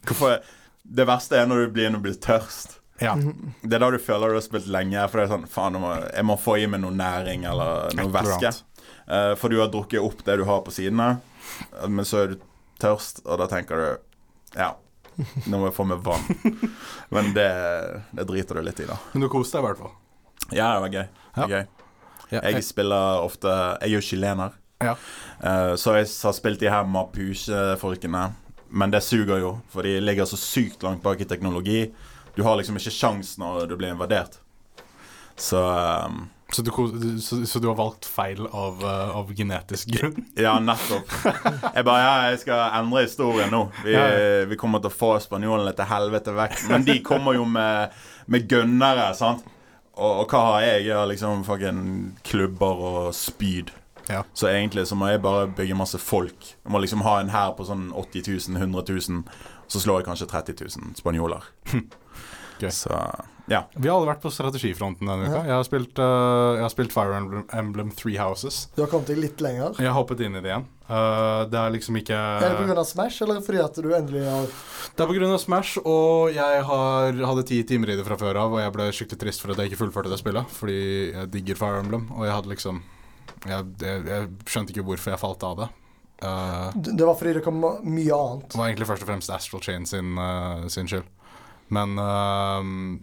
B: Hvorfor er... Det verste er når du blir, når du blir tørst.
A: Ja.
B: Det er da du føler du har spilt lenge. For det er sånn, faen, nå må- jeg må få i meg noe næring eller noe
A: Et eller
B: væske.
A: annet.
B: Eh, for du har drukket opp det du har på sidene, eh, men så er du tørst, og da tenker du Ja, nå må jeg få meg vann. Men det, det driter du litt i, da.
A: Men du koste deg i hvert fall.
B: Ja, det var gøy. Det var gøy.
A: Ja,
B: Jeg spiller ofte Jeg er jo chilener,
A: Ja.
B: Eh, så jeg har spilt de her mapuche-folkene. Men det suger jo, for de ligger så sykt langt bak i teknologi. Du har liksom ikke sjans når du blir invadert. Så eh,
A: Så, du, kos- du- så, så du har valgt feil av, eh, av genetisk grunn?
B: Ja, nettopp. Jeg bare Ja, jeg skal endre historien nå. Vi,
A: Ja,
B: vi kommer til å få spanjolene til helvete vekk. Men de kommer jo med, med gønnere, sant. Og, og hva har jeg? Jeg har liksom fucking klubber og spyd.
A: Ja.
B: Så egentlig så må jeg bare bygge masse folk. Jeg må liksom ha en hær på sånn 80 000, 100 000. Så slår jeg kanskje 30 000 spanjoler.
A: Gøy.
B: Så ja.
A: Vi har alle vært på strategifronten denne uka. Jeg har spilt, eh, jeg har spilt Fire Emblem, Emblem Three Houses.
C: Du har kommet deg litt lenger.
A: Jeg har hoppet inn i det igjen. Eh, det er liksom ikke
C: Er det pga. Smash, eller fordi at du endelig har
A: Det er på grunn av Smash, og jeg har, hadde ti timer i det fra før av, og jeg ble skikkelig trist for at jeg ikke fullførte det spillet, fordi jeg digger Fire Emblem, og jeg hadde liksom Jeg, jeg, jeg skjønte ikke hvorfor jeg falt av det. Eh,
C: Det var fordi det kom mye annet.
A: det var egentlig først og fremst Astral Chain sin, eh, sin skyld. Men, eh,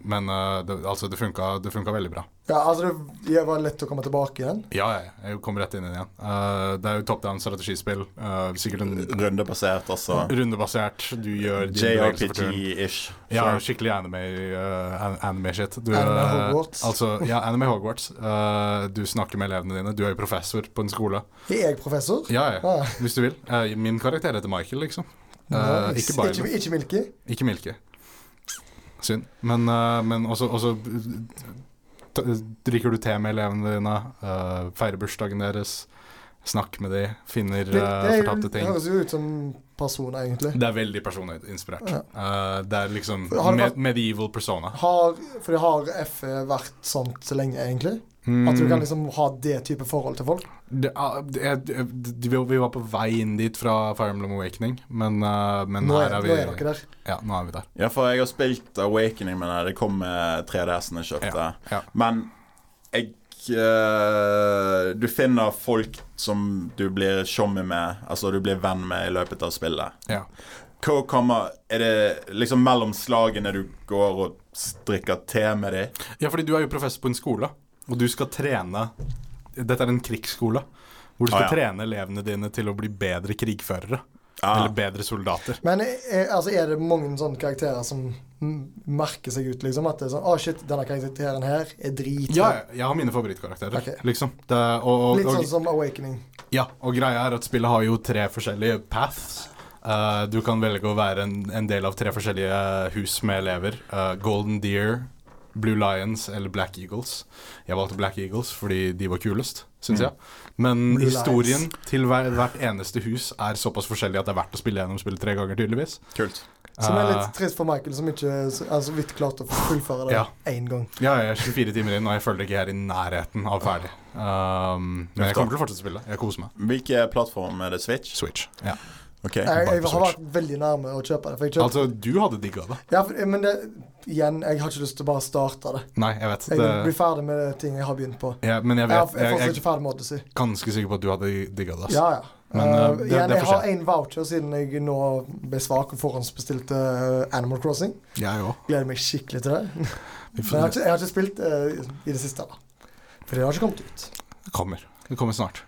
A: men eh, det, altså, det funka, det funka veldig bra.
C: Ja, altså det jeg var lett å komme tilbake igjen.
A: Ja, jeg, jeg kom rett inn i det igjen. Eh, det er jo top down strategispill. eh, sikkert en
B: Rundebasert, altså.
A: rundebasert. Du gjør din
B: E.
A: bevegelse for turen.
B: JRPG-ish.
A: Ja, skikkelig anime, eh, an- anime shit. Du,
C: Anime
A: eh,
C: Hogwarts.
A: altså, ja, anime Hogwarts. Eh, du snakker med elevene dine. Du er jo professor på en skole.
C: Er jeg professor?
A: Ja, ja,
C: Ah,
A: hvis du vil. Eh, min karakter heter Michael, liksom. Eh,
C: nice.
A: ikke Eh, Bile.
C: ikke, ikke Milky.
A: Ikke Milky. Synd. Men, eh, men også, også t drikker du te med elevene dine, eh, feirer bursdagen deres, snakk med dem, finner
C: Det,
A: eh,
C: det
A: fortapte ting.
C: høres jo altså- ut som personer, egentlig.
A: Det er veldig personinspirert. Eh, det er liksom
C: Har det
A: me
C: vært-
A: medieval persona.
C: Har, for det har FE vært sånt så lenge, egentlig? At du
A: Mm.
C: kan liksom ha det type forhold til folk?
A: Det, er- det, er- det, vi vi var på vei inn dit fra Fire Emblem Awakening, men, eh, men
C: Nå
A: her
C: er,
A: er vi
C: nå er dere der.
A: Ja, nå er vi der.
B: Ja, for jeg har spilt Awakening, men det kom med 3DS-en jeg kjøpte.
A: Ja.
B: Men jeg eh, Du finner folk som du blir tjommi med, altså du blir venn med i løpet av spillet.
A: Ja.
B: Hva kommer Er det liksom mellom slagene du går og strikker te med dem?
A: ja, fordi du er jo professor på en skole, og du skal trene Dette er en krigsskole. Hvor du skal
B: Ah, ja.
A: trene elevene dine til å bli bedre krigførere.
B: Ah.
A: Eller bedre soldater.
C: Men er, altså, er det mange sånne karakterer som m- merker seg ut, liksom? At det er sånn Å, shit, denne karakteren her er drit.
A: Ja, jeg- jeg har mine favorittkarakterer,
C: Ok.
A: liksom. Det, og, og,
C: Litt
A: og,
C: sånn som Awakening.
A: Ja, og greia er at spillet har jo tre forskjellige paths. Eh, du kan velge å være en, en del av tre forskjellige hus med elever. Eh, Golden Deer, Blue Lions eller Black Eagles. Jeg valgte Black Eagles fordi de var kulest, syns jeg. Men
C: Blue
A: historien til hver, hvert eneste hus er såpass forskjellig at det er verdt å spille gjennom spillet tre ganger, tydeligvis.
B: Kult.
C: Som er
A: Eh,
C: litt trist for Michael, som ikke så altså, vidt klarte å fullføre det
A: Ja.
C: én gang.
A: Eh, Ja, jeg er 24 timer inn, og jeg føler ikke jeg er i nærheten av ferdig. Um, men jeg kommer til å fortsette å spille. Jeg koser meg.
B: Hvilken plattform er det? Switch?
A: Switch. Ja.
B: Ok.
C: Jeg,
A: bare
C: jeg
A: på
C: har vært veldig nærme å kjøpe det. For jeg kjøpte,
A: Altså, du hadde digga det.
C: ja, for, men det, igjen, jeg har ikke lyst til å bare starte det.
A: Nei, jeg vet.
C: Jeg
A: Det,
C: vil bli ferdig med ting jeg har begynt på.
A: ja, men jeg
C: Jeg,
A: vet
C: er- jeg er
A: jeg,
C: fortsatt
A: jeg
C: ikke ferdig med Odyssey.
A: er ganske sikker på at du hadde digga det. ass.
C: Ja, ja.
A: Men,
C: Eh,
A: eh, det-
C: igjen,
A: det er
C: jeg har
A: for
C: én voucher siden jeg nå ble svak og forhåndsbestilte eh, Animal Crossing.
A: Jeg òg.
C: Gleder meg skikkelig til det. Men jeg har ikke, jeg har ikke spilt eh, i det siste, da. For det har ikke kommet ut.
A: Det kommer. Det kommer snart.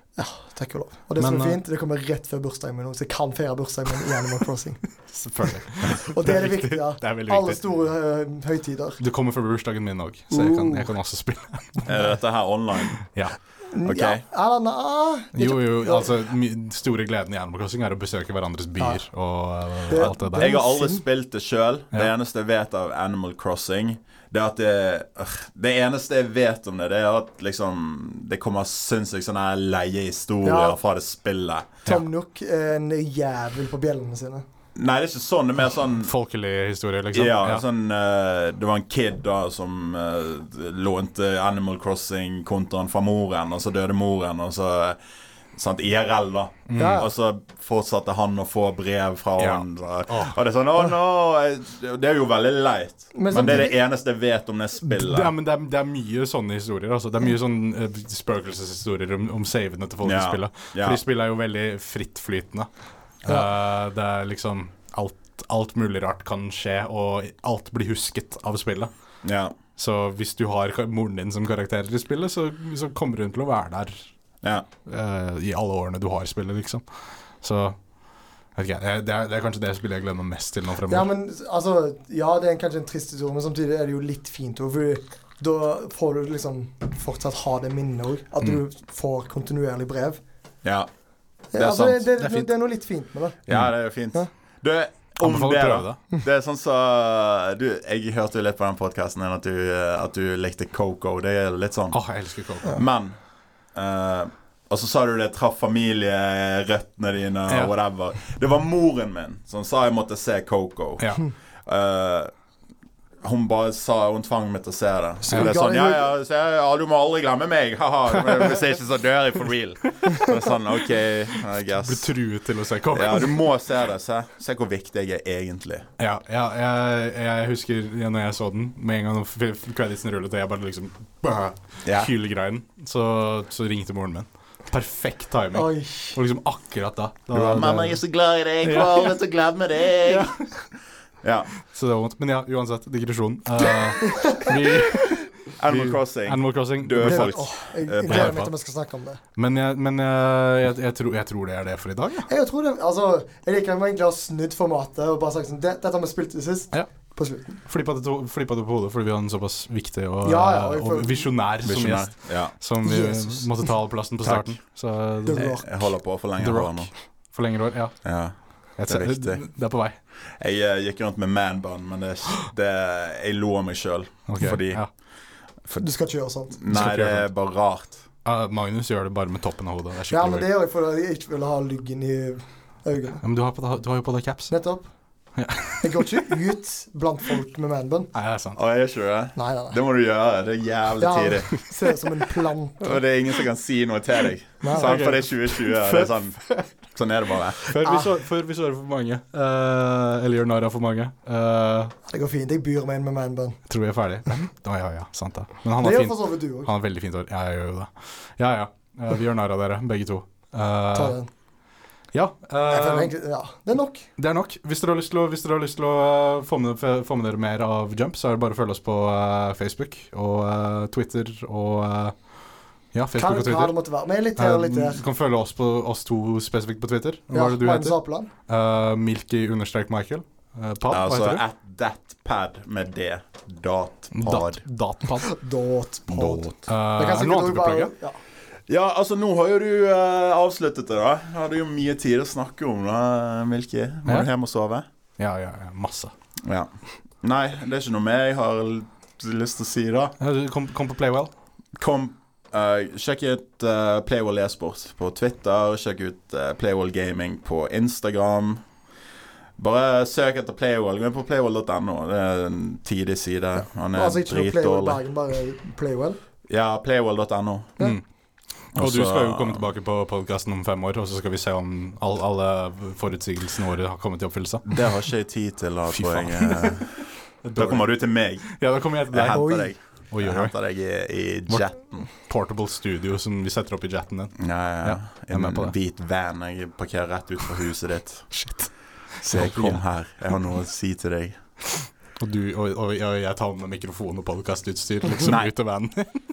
C: Takk og lov. Og det som
A: Men,
C: er
A: eh,
C: fint, det kommer rett før bursdagen min, også, så jeg kan feire bursdagen min i Animal Crossing.
A: Selvfølgelig.
C: Og det er det viktige.
A: Det er veldig
C: Alle
A: viktig.
C: store eh, høytider.
A: Det kommer før bursdagen min òg, så jeg kan, jeg
C: Uh.
A: kan også spille.
B: Er dette her online?
A: Ja.
B: Ok.
C: Ja, eller nei, det er
A: Jo,
C: ikke-
A: jo, altså mi- store gleden i Animal Crossing er å besøke hverandres byer og eh,
C: Det-
A: alt det der.
B: Jeg har aldri
C: Sint.
B: spilt det sjøl. Det
A: Ja.
B: eneste jeg vet av Animal Crossing, det er at det øh, Det eneste jeg vet om det, det er at liksom Det kommer sinnssykt sånne her leie historier
C: Ja.
B: fra det spillet.
C: Tom Nook er en jævel på bjellene sine.
B: Nei, det er ikke sånn. Det er mer sånn
A: Folkelig historie, liksom.
B: ja, sånn eh, Det var en kid da som eh, lånte Animal Crossing-kontoen fra moren, og så døde moren, og så Sant, IRL, da.
C: Ja.
B: Og så fortsatte han å få brev fra
A: Ja.
B: han. da.
A: Åh.
B: Og det er sånn Å, nå jeg- Det er jo veldig leit.
C: Men sånn
B: Men, det er det eneste jeg vet om det spillet.
A: Det er, men det, er, det er mye sånne historier. Altså. Det er mye sånn eh, spøkelseshistorier om, om savene til folk
B: Ja,
A: i spillet.
B: ja.
A: For de spillet er jo veldig frittflytende. Eh, det er liksom alt, alt mulig rart kan skje, og alt blir husket av spillet.
B: ja.
A: Så hvis du har ka- moren din som karakter i spillet, så, så kommer hun til å være der
B: Ja.
A: eh, i alle årene du har spillet, liksom. Så vet ikke, jeg, det, er, det er kanskje det spillet jeg gleder meg mest til nå
C: Ja,
A: fremover.
C: men altså Ja, det er kanskje en trist historie, men samtidig er det jo litt fint òg, for da får du liksom fortsatt ha det minnet òg. At du får kontinuerlig brev.
B: ja.
C: Det
B: er Mm.
C: altså,
B: sant.
C: Det,
A: Det er
C: det,
A: fint.
C: det er noe litt fint med det.
B: Ja, det er jo fint.
C: Ja.
B: Du, om
A: Anbefaler
B: det,
A: å
B: da.
A: prøve
B: Det er sånn så Du, jeg hørte jo litt på den podkasten at, du, eh, at du likte Coco. Det er litt sånn.
A: Åh, jeg elsker Coco.
B: Men eh, Og så sa du det traff familierøttene dine og
A: Ja.
B: whatever. Det var moren min som sa jeg måtte se Coco.
A: Ja.
B: Eh, hun bare sa Hun tvang meg til å se det. Så
C: Ja.
B: det er sånn, ja, ja, så, jeg- ja, du må aldri glemme meg. Haha, Hvis jeg ikke så dør jeg for real. Så det er sånn, OK, I
A: Blir
B: guess.
A: truet til å se Coco.
B: Ja, du må se det. Se, se hvor viktig jeg er egentlig.
A: Ja, ja jeg, jeg husker ja, når jeg så den, med en gang f- f- creditsen rullet og jeg bare liksom bæ,
B: Ja.
A: Hylegreien. Så, så ringte moren min. Perfekt timing.
C: Oi.
A: Og liksom akkurat da. da
B: Du bare,
A: det-
B: Mamma, jeg er så glad i deg. Jeg
A: Ja.
B: kommer aldri til å glemme deg. Ja.
A: så det var vondt. Men ja, uansett, digresjon. Eh, vi,
B: Animal
A: vi-
B: Crossing.
A: Animal Crossing.
B: Døde
A: Men-
B: folk.
C: Åh, jeg
B: Eh,
C: jeg gleder meg til vi skal snakke om det.
A: Men, jeg, men jeg, jeg, jeg, tror, jeg tror det er det for i dag, ja.
C: Jeg tror det, altså, jeg liker at vi egentlig har snudd formatet og bare sagt sånn det- Dette har vi spilt til sist.
A: Ja.
C: På slutten.
A: Flippa det, to- flippa det på hodet fordi vi har en såpass viktig og,
C: Ja, ja, og
A: eh,
C: vi får-
A: og visjonær som
B: Visjonær.
A: gjest.
B: Ja.
A: Som vi
C: Jesus.
A: måtte ta all plassen på
B: Takk.
A: starten. Så
C: The
A: det-
C: Rock.
B: Jeg holder på å forlenge
A: The
B: håret
A: Rock.
B: nå.
A: Forlenger år, ja.
B: Ja.
A: Jeg
B: Det er
A: ser-
B: viktig.
A: Det er på vei.
B: Jeg eh, gikk rundt med manbun, men det, det, jeg lo av meg sjøl.
A: Ok,
B: Fordi
A: ja.
C: Du skal ikke gjøre sånn. sånt.
B: Nei,
A: ikke
B: det
A: gjøre
B: er bare rart.
A: Ja, Magnus gjør det bare med toppen av hodet. Det er
C: Ja,
A: skikkelig
C: men
A: weird.
C: det er jo fordi jeg ikke vil ha lyggen i øynene.
A: ja, men du, har på, deg- du har jo på deg caps.
C: Nettopp.
A: Ja.
C: Jeg går ikke ut blant folk med manbun.
A: Nei, det er sant.
B: Å, jeg gjør ikke det?
C: Nei, nei, nei.
B: Det må du gjøre. Det er jævlig tidlig.
C: ser ut som en plante.
B: Og det er ingen som kan si noe til deg.
C: Nei,
B: Sant?
A: ok.
B: For det er 2020. og Det er sånn. sånn er det bare.
A: Før
C: Ah.
A: vi, så, før vi sårer for mange, eh, eller gjør narr av for mange, eh,
C: Det går fint. Jeg byr meg inn med manbun.
A: tror vi er ferdig. Da, Mhm. ja, ja, sant det. Men han har,
C: Det gjør
A: fint,
C: for så vidt du òg.
A: han har veldig fint hår. Ja, jeg gjør jo det. Ja, ja. Eh, vi gjør narr av dere, begge to. Eh,
C: Ta den.
A: ja,
C: Jeg føler
A: eh,
C: egentlig- Ja, det er nok.
A: det er nok. Hvis dere har lyst til å, hvis dere, har lyst til å eh, få, med, få med dere mer av Jump, så er det bare å følge oss på eh, Facebook og eh, Twitter og eh, Ja,
C: Hva,
A: Facebook og
C: hva
A: Twitter.
C: det måtte være. Men jeg er litt her og
A: Eh,
C: litt der.
A: Du kan følge oss, på, oss to spesifikt på Twitter. Hva
C: Ja,
A: er det du
C: Magnus
A: heter?
C: Apeland.
A: Eh, Milky understrek Michael. Eh, Pad, hva
B: Altså
A: heter du?
B: at that pad med det. Dot
A: Dat,
B: pad.
A: datpad.
C: Dot pod.
A: Eh,
C: Det kan
A: er det
C: sikkert
A: noe annet
C: også
A: du vil
C: bare-
A: plugge?
C: ja.
B: Ja, altså nå har jo du eh, avsluttet det, da. Hadde jo mye tid å snakke om, da, Milky. Må
A: Ja.
B: du hjem og sove?
A: Ja, ja, ja, masse.
B: Ja. Nei, det er ikke noe mer jeg har l- lyst til å si, da.
A: Eh, du Kom, kom på Playwell.
B: Kom, eh, sjekk ut eh, Playwall e-sport på Twitter. Sjekk ut eh, Playwall Gaming på Instagram. Bare søk etter Playwall. Gå inn på playwall.no. Det er en tidig side. Han er
C: altså, jeg tror Playwell
B: dritdårlig.
C: Bergen bare er Playwell.
B: Ja, playwall.no.
C: Ja.
A: Mm. Og
B: Og
A: du
B: så-
A: skal jo komme tilbake på podkasten om fem år, og så skal vi se om all, alle forutsigelsene våre har kommet i oppfyllelse.
E: Det har ikke jeg tid til. Da,
A: Fy
E: tror
A: faen.
E: jeg. eh.
B: Da kommer du til meg.
A: Ja, da kommer jeg til
B: Jeg
A: deg.
C: Oi.
B: henter deg.
A: Oi,
B: Jeg
A: oi, oi.
B: henter deg i, i
A: Vårt-
B: jetten.
A: Portable studio som vi setter opp i jetten din.
B: Ja,
A: Ja,
B: ja.
A: jeg er med på
B: En
A: det.
B: hvit van jeg parkerer rett ut fra huset ditt.
A: Shit.
B: Så jeg kom her. Jeg har noe å si til deg.
A: Og, du, og, og, og jeg tar med mikrofon og podkastutstyr liksom,
B: Nei.
A: ut av vanen.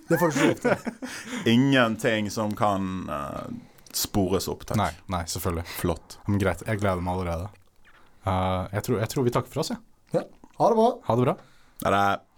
C: Det får du ikke lov til.
B: Ingenting som kan eh, spores opp. Takk.
A: Nei, nei, selvfølgelig.
B: Flott.
A: Men greit, jeg gleder meg allerede. Eh, jeg, tror, jeg tror vi takker for oss, jeg.
C: Ha det bra.
A: Ja. Ha det bra.
B: Det er det.